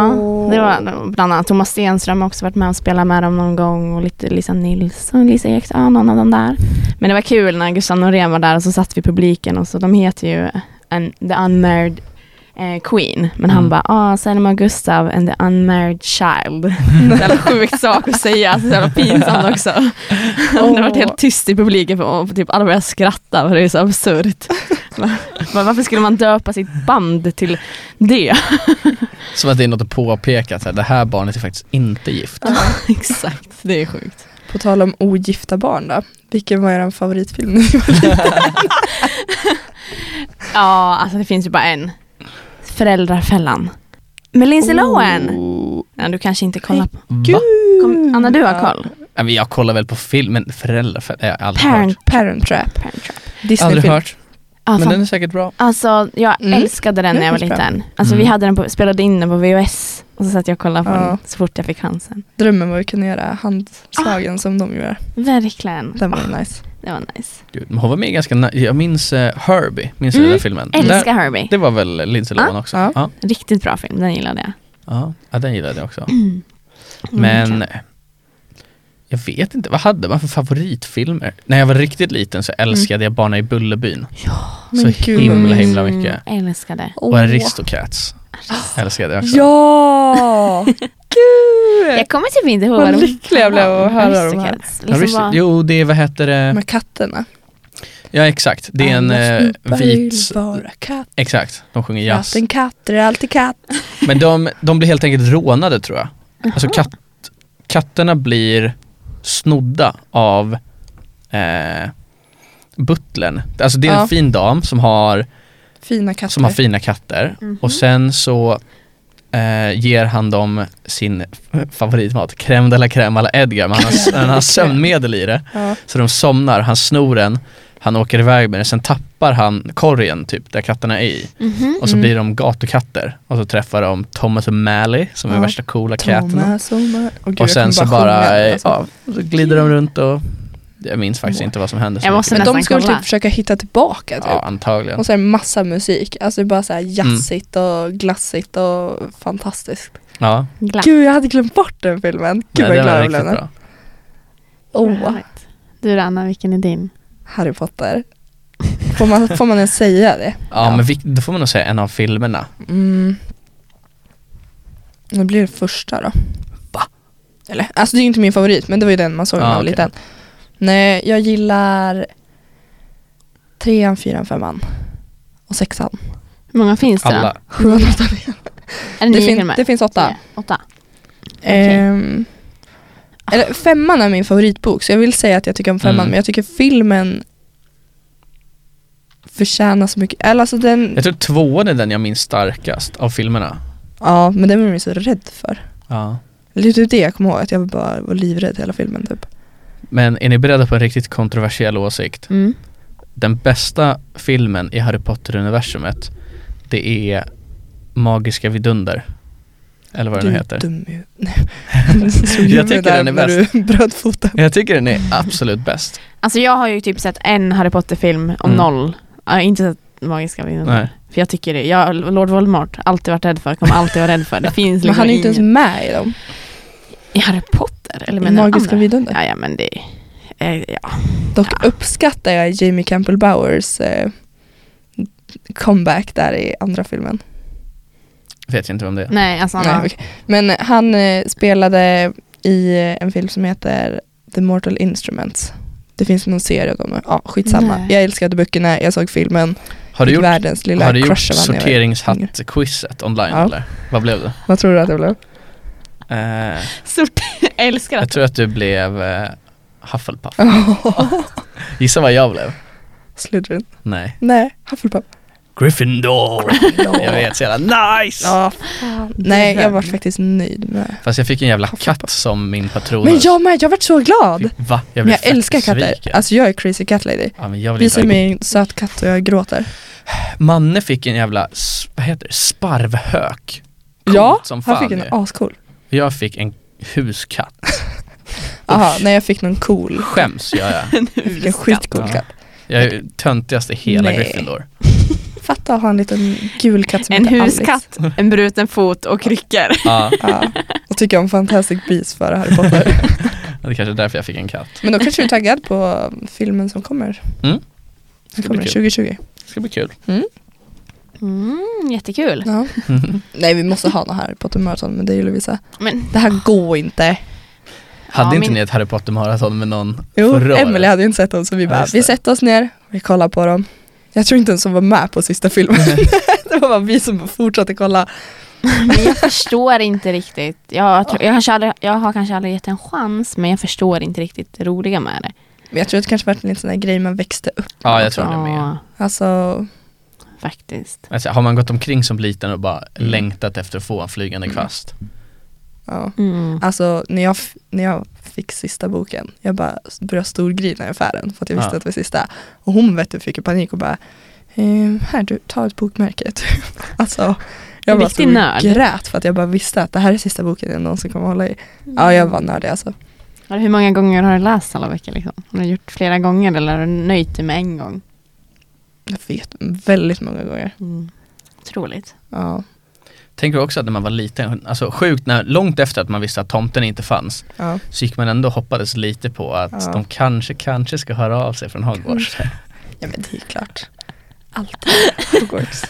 Speaker 4: det var bland annat Thomas Stenström har också varit med och spelat med dem någon gång och lite Lisa Nilsson, Lisa Ek, ja, någon av dem där. Men det var kul när Gustav Norén var där och så satt vi i publiken och så de heter ju en, The Unmarried eh, Queen. Men han
Speaker 1: Mm.
Speaker 4: bara, ah, Selma och Gustav and the Unmarried Child. Det är en sjuk sak att säga, så jävla pinsamt också. Det var helt tyst i publiken och typ alla började skratta för det är så absurt. Men Varför skulle man döpa sitt band till det?
Speaker 1: Som att det är något att påpeka, att så här, det här barnet är faktiskt inte gift.
Speaker 4: Exakt, det är sjukt.
Speaker 2: På tal om ogifta barn då. Vilken var er favoritfilm när ni var
Speaker 4: Ja, alltså det finns ju bara en. Föräldrafällan. Med Lindsay Lohan.
Speaker 2: Oh.
Speaker 4: Ja, du kanske inte kollar på.
Speaker 1: Va?
Speaker 4: Kom, Anna, du har koll?
Speaker 1: Nej, men Jag kollar väl på film, men föräldrar, för, jag har aldrig
Speaker 4: Parent, Alltså.
Speaker 1: hört.
Speaker 2: Parent Trap.
Speaker 4: parent trap.
Speaker 1: Aldrig
Speaker 2: Disneyfilm.
Speaker 1: hört,
Speaker 4: Ja,
Speaker 1: men
Speaker 4: fan.
Speaker 1: den är säkert bra.
Speaker 4: Alltså, jag
Speaker 2: Mm.
Speaker 4: älskade den när jag var
Speaker 2: Den är
Speaker 4: liten. Alltså vi
Speaker 1: Mm.
Speaker 4: hade den på, spelade in den på VHS och så satt jag och kollade på
Speaker 2: Ja.
Speaker 4: den så fort jag fick chansen.
Speaker 2: Drömmen var att kunna göra handslagen
Speaker 4: Ah.
Speaker 2: som de gör.
Speaker 4: Verkligen.
Speaker 2: Den var nice.
Speaker 4: Det var nice.
Speaker 1: Gud, men hon var med ganska, na- jag minns eh, Herbie, minns du
Speaker 4: Mm,
Speaker 1: den där filmen?
Speaker 4: Älskar
Speaker 1: Där,
Speaker 4: Herbie.
Speaker 1: det var väl Lindsay Lohan också?
Speaker 2: ja.
Speaker 1: Ja. Ja.
Speaker 4: Riktigt bra film, den gillade jag.
Speaker 1: Ja. den gillade jag också.
Speaker 4: Mm,
Speaker 1: Men
Speaker 4: verkligen.
Speaker 1: eh, jag vet inte, vad hade man för favoritfilmer? När jag var riktigt liten så
Speaker 4: Mm.
Speaker 1: älskade jag Barnen i Bullerbyn.
Speaker 2: men
Speaker 1: så
Speaker 2: gud, vad
Speaker 1: himla
Speaker 2: mysigt.
Speaker 1: himla mycket.
Speaker 4: Mm, älskade.
Speaker 1: Och Aristocats
Speaker 4: Alltså.
Speaker 1: älskade jag också.
Speaker 2: Ja! Gud!
Speaker 4: Jag kommer typ inte ihåg
Speaker 2: Vad
Speaker 4: de-
Speaker 2: lycklig jag blev att höra de här.
Speaker 4: Aristocats.
Speaker 1: Ja,
Speaker 4: Liksom
Speaker 1: visst.
Speaker 4: bara,
Speaker 1: Jo, det är, vad heter det?
Speaker 2: Med katterna.
Speaker 1: Ja exakt, det är en eh,
Speaker 2: Alla
Speaker 1: vit...
Speaker 2: vill vara katt.
Speaker 1: Exakt, de sjunger jazz.
Speaker 2: Katten katter är alltid katt.
Speaker 1: Men de, de blir helt enkelt rånade tror jag. Alltså katt, katterna blir snodda av eh, butlern. Alltså det är en
Speaker 2: Ja.
Speaker 1: fin dam som har,
Speaker 2: Fina katter.
Speaker 1: som har fina katter och
Speaker 4: Mm.
Speaker 1: sen så eh, ger han dem sin f- favoritmat, crème de la crème à la Edgar, men han har, han har sömnmedel i det.
Speaker 2: ja.
Speaker 1: Så de somnar, han snor den, han åker iväg med den, sen tappar han korgen typ där katterna är i.
Speaker 4: Mhm.
Speaker 1: Och så
Speaker 2: Mm.
Speaker 1: blir de gatukatter och så träffar de Thomas och Mally som är
Speaker 2: Ja.
Speaker 1: värsta coola caten.
Speaker 2: Thomas och Ma- Åh, gud,
Speaker 1: Och
Speaker 2: jag
Speaker 1: sen
Speaker 2: kommer
Speaker 1: så bara,
Speaker 2: sjunga,
Speaker 1: eh,
Speaker 2: alltså.
Speaker 1: ja, så glider de runt och jag minns faktiskt inte vad som hände. så
Speaker 4: Jag
Speaker 1: mycket.
Speaker 4: måste
Speaker 2: Men
Speaker 4: nästan
Speaker 2: de skulle
Speaker 4: kolla.
Speaker 2: typ försöka hitta tillbaka typ.
Speaker 1: Ja, Mm. antagligen.
Speaker 2: Och så är det massa musik. Alltså det är bara så här jazzigt och glassigt och fantastiskt.
Speaker 1: Ja,
Speaker 4: Glatt.
Speaker 2: Gud, jag hade glömt bort den filmen.
Speaker 1: nej,
Speaker 2: Gud vad
Speaker 1: den
Speaker 2: glad
Speaker 1: var
Speaker 2: jag blev
Speaker 1: riktigt
Speaker 2: nu.
Speaker 1: bra.
Speaker 2: Åh,
Speaker 4: Du då Anna, vilken är din?
Speaker 2: Harry Potter. Får man, får man ens säga det?
Speaker 1: Ja, men vi, då får man nog säga en av filmerna.
Speaker 2: Mm. Det blir det första då. Va? Eller, alltså det är ju inte min favorit men det var ju den man såg när
Speaker 1: Ah,
Speaker 2: man var
Speaker 1: okej.
Speaker 2: liten. Nej, jag gillar trean, fyran, femman och sexan.
Speaker 4: Hur många finns det?
Speaker 1: Alla.
Speaker 2: Sjuan, åttan.
Speaker 4: Är det,
Speaker 2: Det,
Speaker 4: nio
Speaker 2: fin-
Speaker 4: filmer?
Speaker 2: det finns åtta.
Speaker 4: Tio. Åtta.
Speaker 2: Ehm, eller, femman är min favoritbok så jag vill säga att jag tycker om femman
Speaker 1: Mm.
Speaker 2: men jag tycker filmen förtjänar så mycket. Eller alltså den,
Speaker 1: Jag tror tvåan är den jag minns starkast av filmerna.
Speaker 2: ja men den var jag så rädd för.
Speaker 1: Ja.
Speaker 2: Det är typ det jag kommer ihåg, att jag bara var livrädd hela filmen typ.
Speaker 1: Men är ni beredda på en riktigt kontroversiell
Speaker 2: Typ.
Speaker 1: åsikt?
Speaker 4: Mm.
Speaker 1: Den bästa filmen i Harry Potter-universumet, det är Magiska vidunder. Eller vad den
Speaker 2: du är
Speaker 1: heter.
Speaker 2: dum i- Nej. Så dum
Speaker 1: Jag tycker
Speaker 2: där
Speaker 1: den är
Speaker 2: när Du brödfotar.
Speaker 1: Jag tycker den är absolut bäst.
Speaker 4: Alltså jag har ju typ sett en Harry Potter-film om
Speaker 1: Mm.
Speaker 4: noll. Jag har inte sett Magiska
Speaker 1: Nej.
Speaker 2: Mm.
Speaker 4: vinnare. För jag tycker det. Jag, Lord Voldemort, alltid varit rädd för, kommer alltid vara rädd för. Det finns
Speaker 2: Men
Speaker 4: liksom
Speaker 2: han är inte ens
Speaker 4: ingen-
Speaker 2: med i dem.
Speaker 4: I Harry Potter? Eller
Speaker 2: I
Speaker 4: menar du
Speaker 2: Magiska
Speaker 4: andra?
Speaker 2: vidunder.
Speaker 4: Ja, ja men det... eh, Ja.
Speaker 2: Dock uppskattar jag Jamie Campbell Bowers eh, comeback där i andra filmen.
Speaker 1: Vet jag inte vem det är.
Speaker 2: Mm.
Speaker 4: Nej, alltså
Speaker 2: Nej,
Speaker 4: Anna.
Speaker 2: okej. Men han eh, spelade i eh, en film som heter The Mortal Instruments. Det finns någon serie om det. Ja, skitsamma.
Speaker 4: Nej.
Speaker 2: Jag älskade böckerna, jag såg filmen.
Speaker 1: Har du
Speaker 2: Fick
Speaker 1: gjort,
Speaker 2: världens lilla
Speaker 1: har du gjort
Speaker 2: crush av han när jag var yngre.
Speaker 1: sorteringshatt-quizet online
Speaker 2: Ja.
Speaker 1: eller? Vad blev du?
Speaker 2: Vad tror du att det blev?
Speaker 1: Eh,
Speaker 4: Stort. Jag älskar
Speaker 1: jag
Speaker 4: att
Speaker 1: tror att du blev eh, Hufflepuff.
Speaker 2: Oh,
Speaker 1: Gissa vad jag blev?
Speaker 2: Slytherin.
Speaker 1: Nej.
Speaker 2: Nej, Hufflepuff.
Speaker 1: Gryffindor. jag vet, så jävla nice!
Speaker 2: Ja, fan. Nej, jag var faktiskt nöjd med det.
Speaker 1: Fast jag fick en jävla katt som min patron.
Speaker 2: Men jag med, jag vart så glad!
Speaker 1: Fick- Va? Jag
Speaker 2: Men
Speaker 1: blev
Speaker 2: jag
Speaker 1: fett
Speaker 2: älskar katter.
Speaker 1: besviken.
Speaker 2: Alltså jag är crazy cat lady.
Speaker 1: ja, men jag vill
Speaker 2: Visa
Speaker 1: inte.
Speaker 2: mig en söt katt och jag gråter.
Speaker 1: Manne fick en jävla, s- vad heter det, sparvhök. Coolt
Speaker 2: ja,
Speaker 1: som fan
Speaker 2: han fick en
Speaker 1: ju.
Speaker 2: ascool.
Speaker 1: Jag fick en huskatt.
Speaker 2: Aha, nej jag fick någon cool.
Speaker 1: Skäms gör jag.
Speaker 2: Jag fick en skitcool
Speaker 1: Ja.
Speaker 2: katt.
Speaker 1: Jag är töntigaste i hela
Speaker 2: Nej.
Speaker 1: Gryffindor.
Speaker 2: Fatta att ha en liten gul katt som
Speaker 4: En
Speaker 2: heter Alice.
Speaker 4: huskatt, en bruten fot och kryckor.
Speaker 1: Ja,
Speaker 2: Ja, och tycker om Fantastic Beasts före Harry Potter.
Speaker 1: det är kanske är därför jag fick en katt.
Speaker 2: Men då kanske du är taggad på um, filmen som kommer.
Speaker 1: Mm.
Speaker 2: Den
Speaker 1: bli
Speaker 2: kommer
Speaker 1: kul.
Speaker 2: 2020.
Speaker 1: Det ska bli kul.
Speaker 4: Mm, jättekul.
Speaker 2: Ja. Nej vi måste ha någon Harry Potter maraton men det är ju Lovisa.
Speaker 4: Men
Speaker 2: Det här går inte.
Speaker 1: Hade
Speaker 4: Ja,
Speaker 1: inte
Speaker 4: min-
Speaker 1: ni ett Harry Potter maraton med någon
Speaker 2: Jo,
Speaker 1: förra året?
Speaker 2: Emelie hade ju inte sett dem så vi
Speaker 1: Ja,
Speaker 2: bara,
Speaker 1: just det.
Speaker 2: vi sätter oss ner, vi kollar på dem. Jag tror inte ens hon var med på sista filmen. det var bara vi som fortsatte kolla.
Speaker 4: Men jag förstår inte riktigt. Jag, tror, jag, kanske aldrig, jag har kanske aldrig gett en chans men jag förstår inte riktigt det roliga med det.
Speaker 2: Men jag tror att det kanske var en liten sån där grej man växte upp.
Speaker 1: Ja, jag tror det med.
Speaker 4: Ja,
Speaker 2: Alltså,
Speaker 4: faktiskt.
Speaker 1: Alltså, har man gått omkring som liten och bara
Speaker 2: Mm.
Speaker 1: längtat efter att få en flygande kvast?
Speaker 2: ja.
Speaker 4: Mm.
Speaker 2: Alltså när jag, f- när jag fick sista boken, jag bara s- började storgrina i affären för att jag visste
Speaker 1: Ja.
Speaker 2: att det var sista. Och hon vet du fick ju panik och bara, ehm, här du, ta ett bokmärke typ. Alltså, jag
Speaker 4: En
Speaker 2: bara
Speaker 4: riktig
Speaker 2: stod och
Speaker 4: nörd.
Speaker 2: grät för att jag bara visste att det här är sista boken jag någonsin kommer hålla i. Ja, jag var nördig alltså.
Speaker 4: Eller Hur många gånger har du läst alla veckor? Liksom? Har du gjort flera gånger eller har du nöjt dig med en gång?
Speaker 2: Jag vet, väldigt många gånger.
Speaker 4: Mm. Otroligt.
Speaker 2: Ja.
Speaker 1: Tänker också att när man var liten, alltså sjukt när, långt efter att man visste att tomten inte fanns,
Speaker 2: ja.
Speaker 1: så gick man ändå och hoppades lite på att
Speaker 2: Ja.
Speaker 1: de kanske, kanske ska höra av sig från Hogwarts.
Speaker 2: Ja men det är klart. Alltid Hogwarts.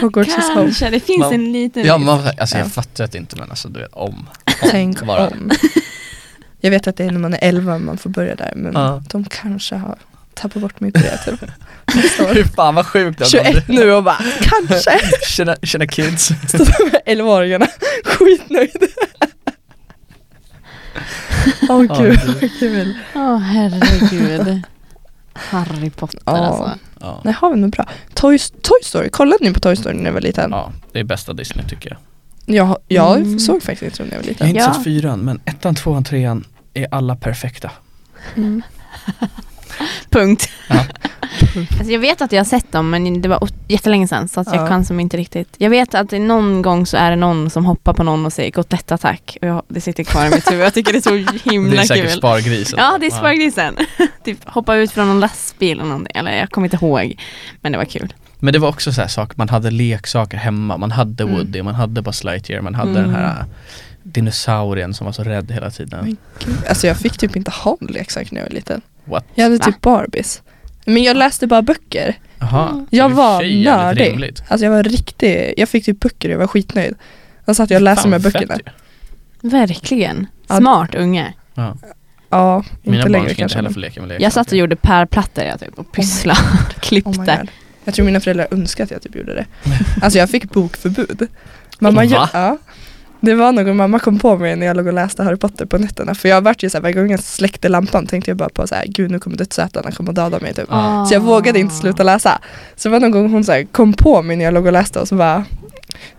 Speaker 2: Hogwarts is home.
Speaker 4: Kanske, det finns
Speaker 1: Man-
Speaker 4: en liten
Speaker 1: Ja, man, var- alltså
Speaker 2: Ja.
Speaker 1: jag fattar att det inte men alltså du vet om.
Speaker 2: Tänk
Speaker 1: bara.
Speaker 2: om. Jag vet att det är när man är 11 man får börja där men
Speaker 1: Ja.
Speaker 2: de kanske har tappat bort mig på det typ. Nästa år.
Speaker 1: Hur fan vad sjukt att
Speaker 2: 21 nu och bara kanske.
Speaker 1: Tjena, tjena kids.
Speaker 2: Står de här 11-åringarna skitnöjda. Åh
Speaker 1: Ja,
Speaker 2: gud
Speaker 1: det-
Speaker 2: vad kul.
Speaker 4: Åh herregud. Harry Potter
Speaker 2: Ja.
Speaker 4: alltså.
Speaker 1: Ja.
Speaker 2: Nej har vi något bra? Toy, Toy Story, kollade ni på Toy Story när ni var liten?
Speaker 1: ja, det är bästa Disney tycker jag.
Speaker 2: Jag, jag
Speaker 4: Mm.
Speaker 2: såg faktiskt inte dem när jag var
Speaker 1: Jag har
Speaker 2: liten.
Speaker 1: inte
Speaker 4: Ja.
Speaker 1: sett fyran men ettan, tvåan, trean är alla perfekta.
Speaker 4: Mm. Punkt.
Speaker 1: Ja.
Speaker 4: Alltså jag vet att jag har sett dem men det var ot- jättelänge sedan så att jag
Speaker 2: Ja.
Speaker 4: kan som inte riktigt. Jag vet att det någon gång så är det någon som hoppar på någon och säger gottettattack tack och jag, det sitter kvar i mitt huvud. Jag tycker det är så
Speaker 1: Det är
Speaker 4: himla
Speaker 1: säkert
Speaker 4: kul.
Speaker 1: spargrisen.
Speaker 4: Ja, det är spargrisen. typ hoppa ut från någon lastbil eller någonting. Eller jag kommer inte ihåg. Men det var kul.
Speaker 1: Men det var också så här saker, man hade leksaker hemma, man hade
Speaker 2: Mm.
Speaker 1: Woody, man hade Buzz Lightyear, man hade
Speaker 4: Mm.
Speaker 1: den här äh, dinosaurien som var så rädd hela tiden.
Speaker 2: Men Alltså jag fick typ inte ha en leksak när jag var liten.
Speaker 1: Mm. What?
Speaker 2: Jag hade
Speaker 4: Va?
Speaker 2: typ Barbies. Men jag läste bara böcker.
Speaker 1: Jaha,
Speaker 2: Jag
Speaker 1: det är i och
Speaker 2: var
Speaker 1: för sig jävligt
Speaker 2: nördig.
Speaker 1: rimligt.
Speaker 2: Alltså jag var riktig, jag fick typ böcker och jag var skitnöjd. Sen satt jag och läste
Speaker 1: Fan,
Speaker 2: de här
Speaker 1: fett
Speaker 2: böckerna.
Speaker 1: ju.
Speaker 4: Verkligen.
Speaker 2: Ja.
Speaker 4: Smart unge.
Speaker 1: Ja.
Speaker 2: Ja,
Speaker 1: Mina
Speaker 2: inte
Speaker 1: barn
Speaker 2: längre
Speaker 1: ska inte
Speaker 2: kanske.
Speaker 1: heller
Speaker 2: men-
Speaker 1: få leka med leksaker.
Speaker 4: Jag satt och gjorde pärlplattor jag typ och pysslade och
Speaker 2: Oh my
Speaker 4: klippte.
Speaker 2: God. Jag tror mina föräldrar önskar att jag typ gjorde det. Alltså jag fick bokförbud. Mamma,
Speaker 1: Va?
Speaker 2: ja, det var någon mamma kom på mig när jag låg och läste Harry Potter på nätterna. För jag vart ju såhär, varje gång jag släckte lampan tänkte jag bara på såhär, gud nu kommer dödsätarna komma och döda mig typ.
Speaker 4: Ah.
Speaker 1: Ja.
Speaker 2: Så jag vågade inte sluta läsa. Så det var någon gång hon så här kom på mig när jag låg och läste och så bara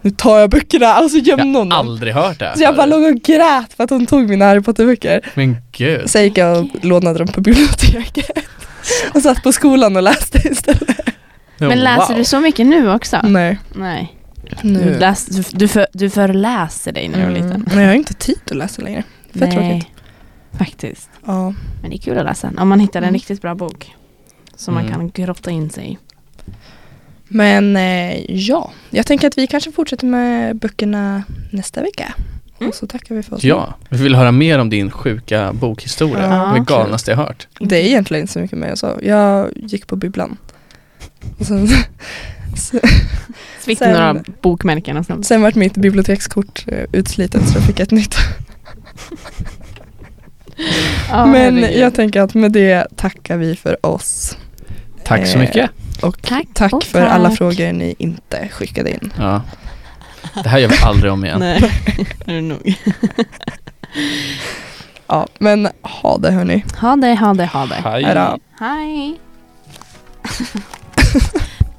Speaker 2: Nu tar jag böckerna och så
Speaker 1: Jag
Speaker 2: gömde hon
Speaker 1: har
Speaker 2: dem.
Speaker 1: aldrig hört det här
Speaker 2: Så jag bara
Speaker 1: förut.
Speaker 2: låg och grät för att hon tog mina Harry Potter-böcker.
Speaker 1: Men gud.
Speaker 2: Sen gick jag och lånade dem på biblioteket. Och satt på skolan och läste istället.
Speaker 4: Men läser du så mycket nu också?
Speaker 2: Nej.
Speaker 4: Nej. Du,
Speaker 2: Nu.
Speaker 4: läs, du, du, för, du föreläser dig när du var liten.
Speaker 2: Mm. Men jag har inte tid att läsa längre. Fett tråkigt.
Speaker 4: Faktiskt.
Speaker 2: Ja.
Speaker 4: Men det är kul att läsa om man hittar en
Speaker 2: Mm.
Speaker 4: riktigt bra bok. Som man
Speaker 1: Mm.
Speaker 4: kan grotta in sig i.
Speaker 2: Men eh, ja, jag tänker att vi kanske fortsätter med böckerna nästa vecka.
Speaker 4: Mm.
Speaker 2: Och så tackar vi för oss.
Speaker 1: Ja, vi vill höra mer om din sjuka bokhistoria.
Speaker 2: Ja,
Speaker 1: det
Speaker 4: kul.
Speaker 1: galnaste jag hört.
Speaker 2: Det är egentligen inte så mycket mer än så. Jag gick på bibblan. Och sen,
Speaker 4: Fick du
Speaker 2: Sen-
Speaker 4: några bokmärken och sånt?
Speaker 2: sen vart mitt bibliotekskort eh, utslitet så jag fick ett nytt.
Speaker 4: Ja,
Speaker 2: Men
Speaker 4: herregud.
Speaker 2: jag tänker att med det tackar vi för oss.
Speaker 1: Tack så
Speaker 2: Eh,
Speaker 1: mycket.
Speaker 2: Och
Speaker 4: Tack
Speaker 2: tack,
Speaker 4: och
Speaker 2: för alla
Speaker 4: tack.
Speaker 2: frågor ni inte skickade in.
Speaker 1: Ja. Det här gör vi aldrig om igen.
Speaker 4: Nej, nu är det nog.
Speaker 2: Ja, men ha det hörni.
Speaker 4: Ha det, ha det, ha det.
Speaker 1: Hej.
Speaker 2: Hej då.
Speaker 4: Hej.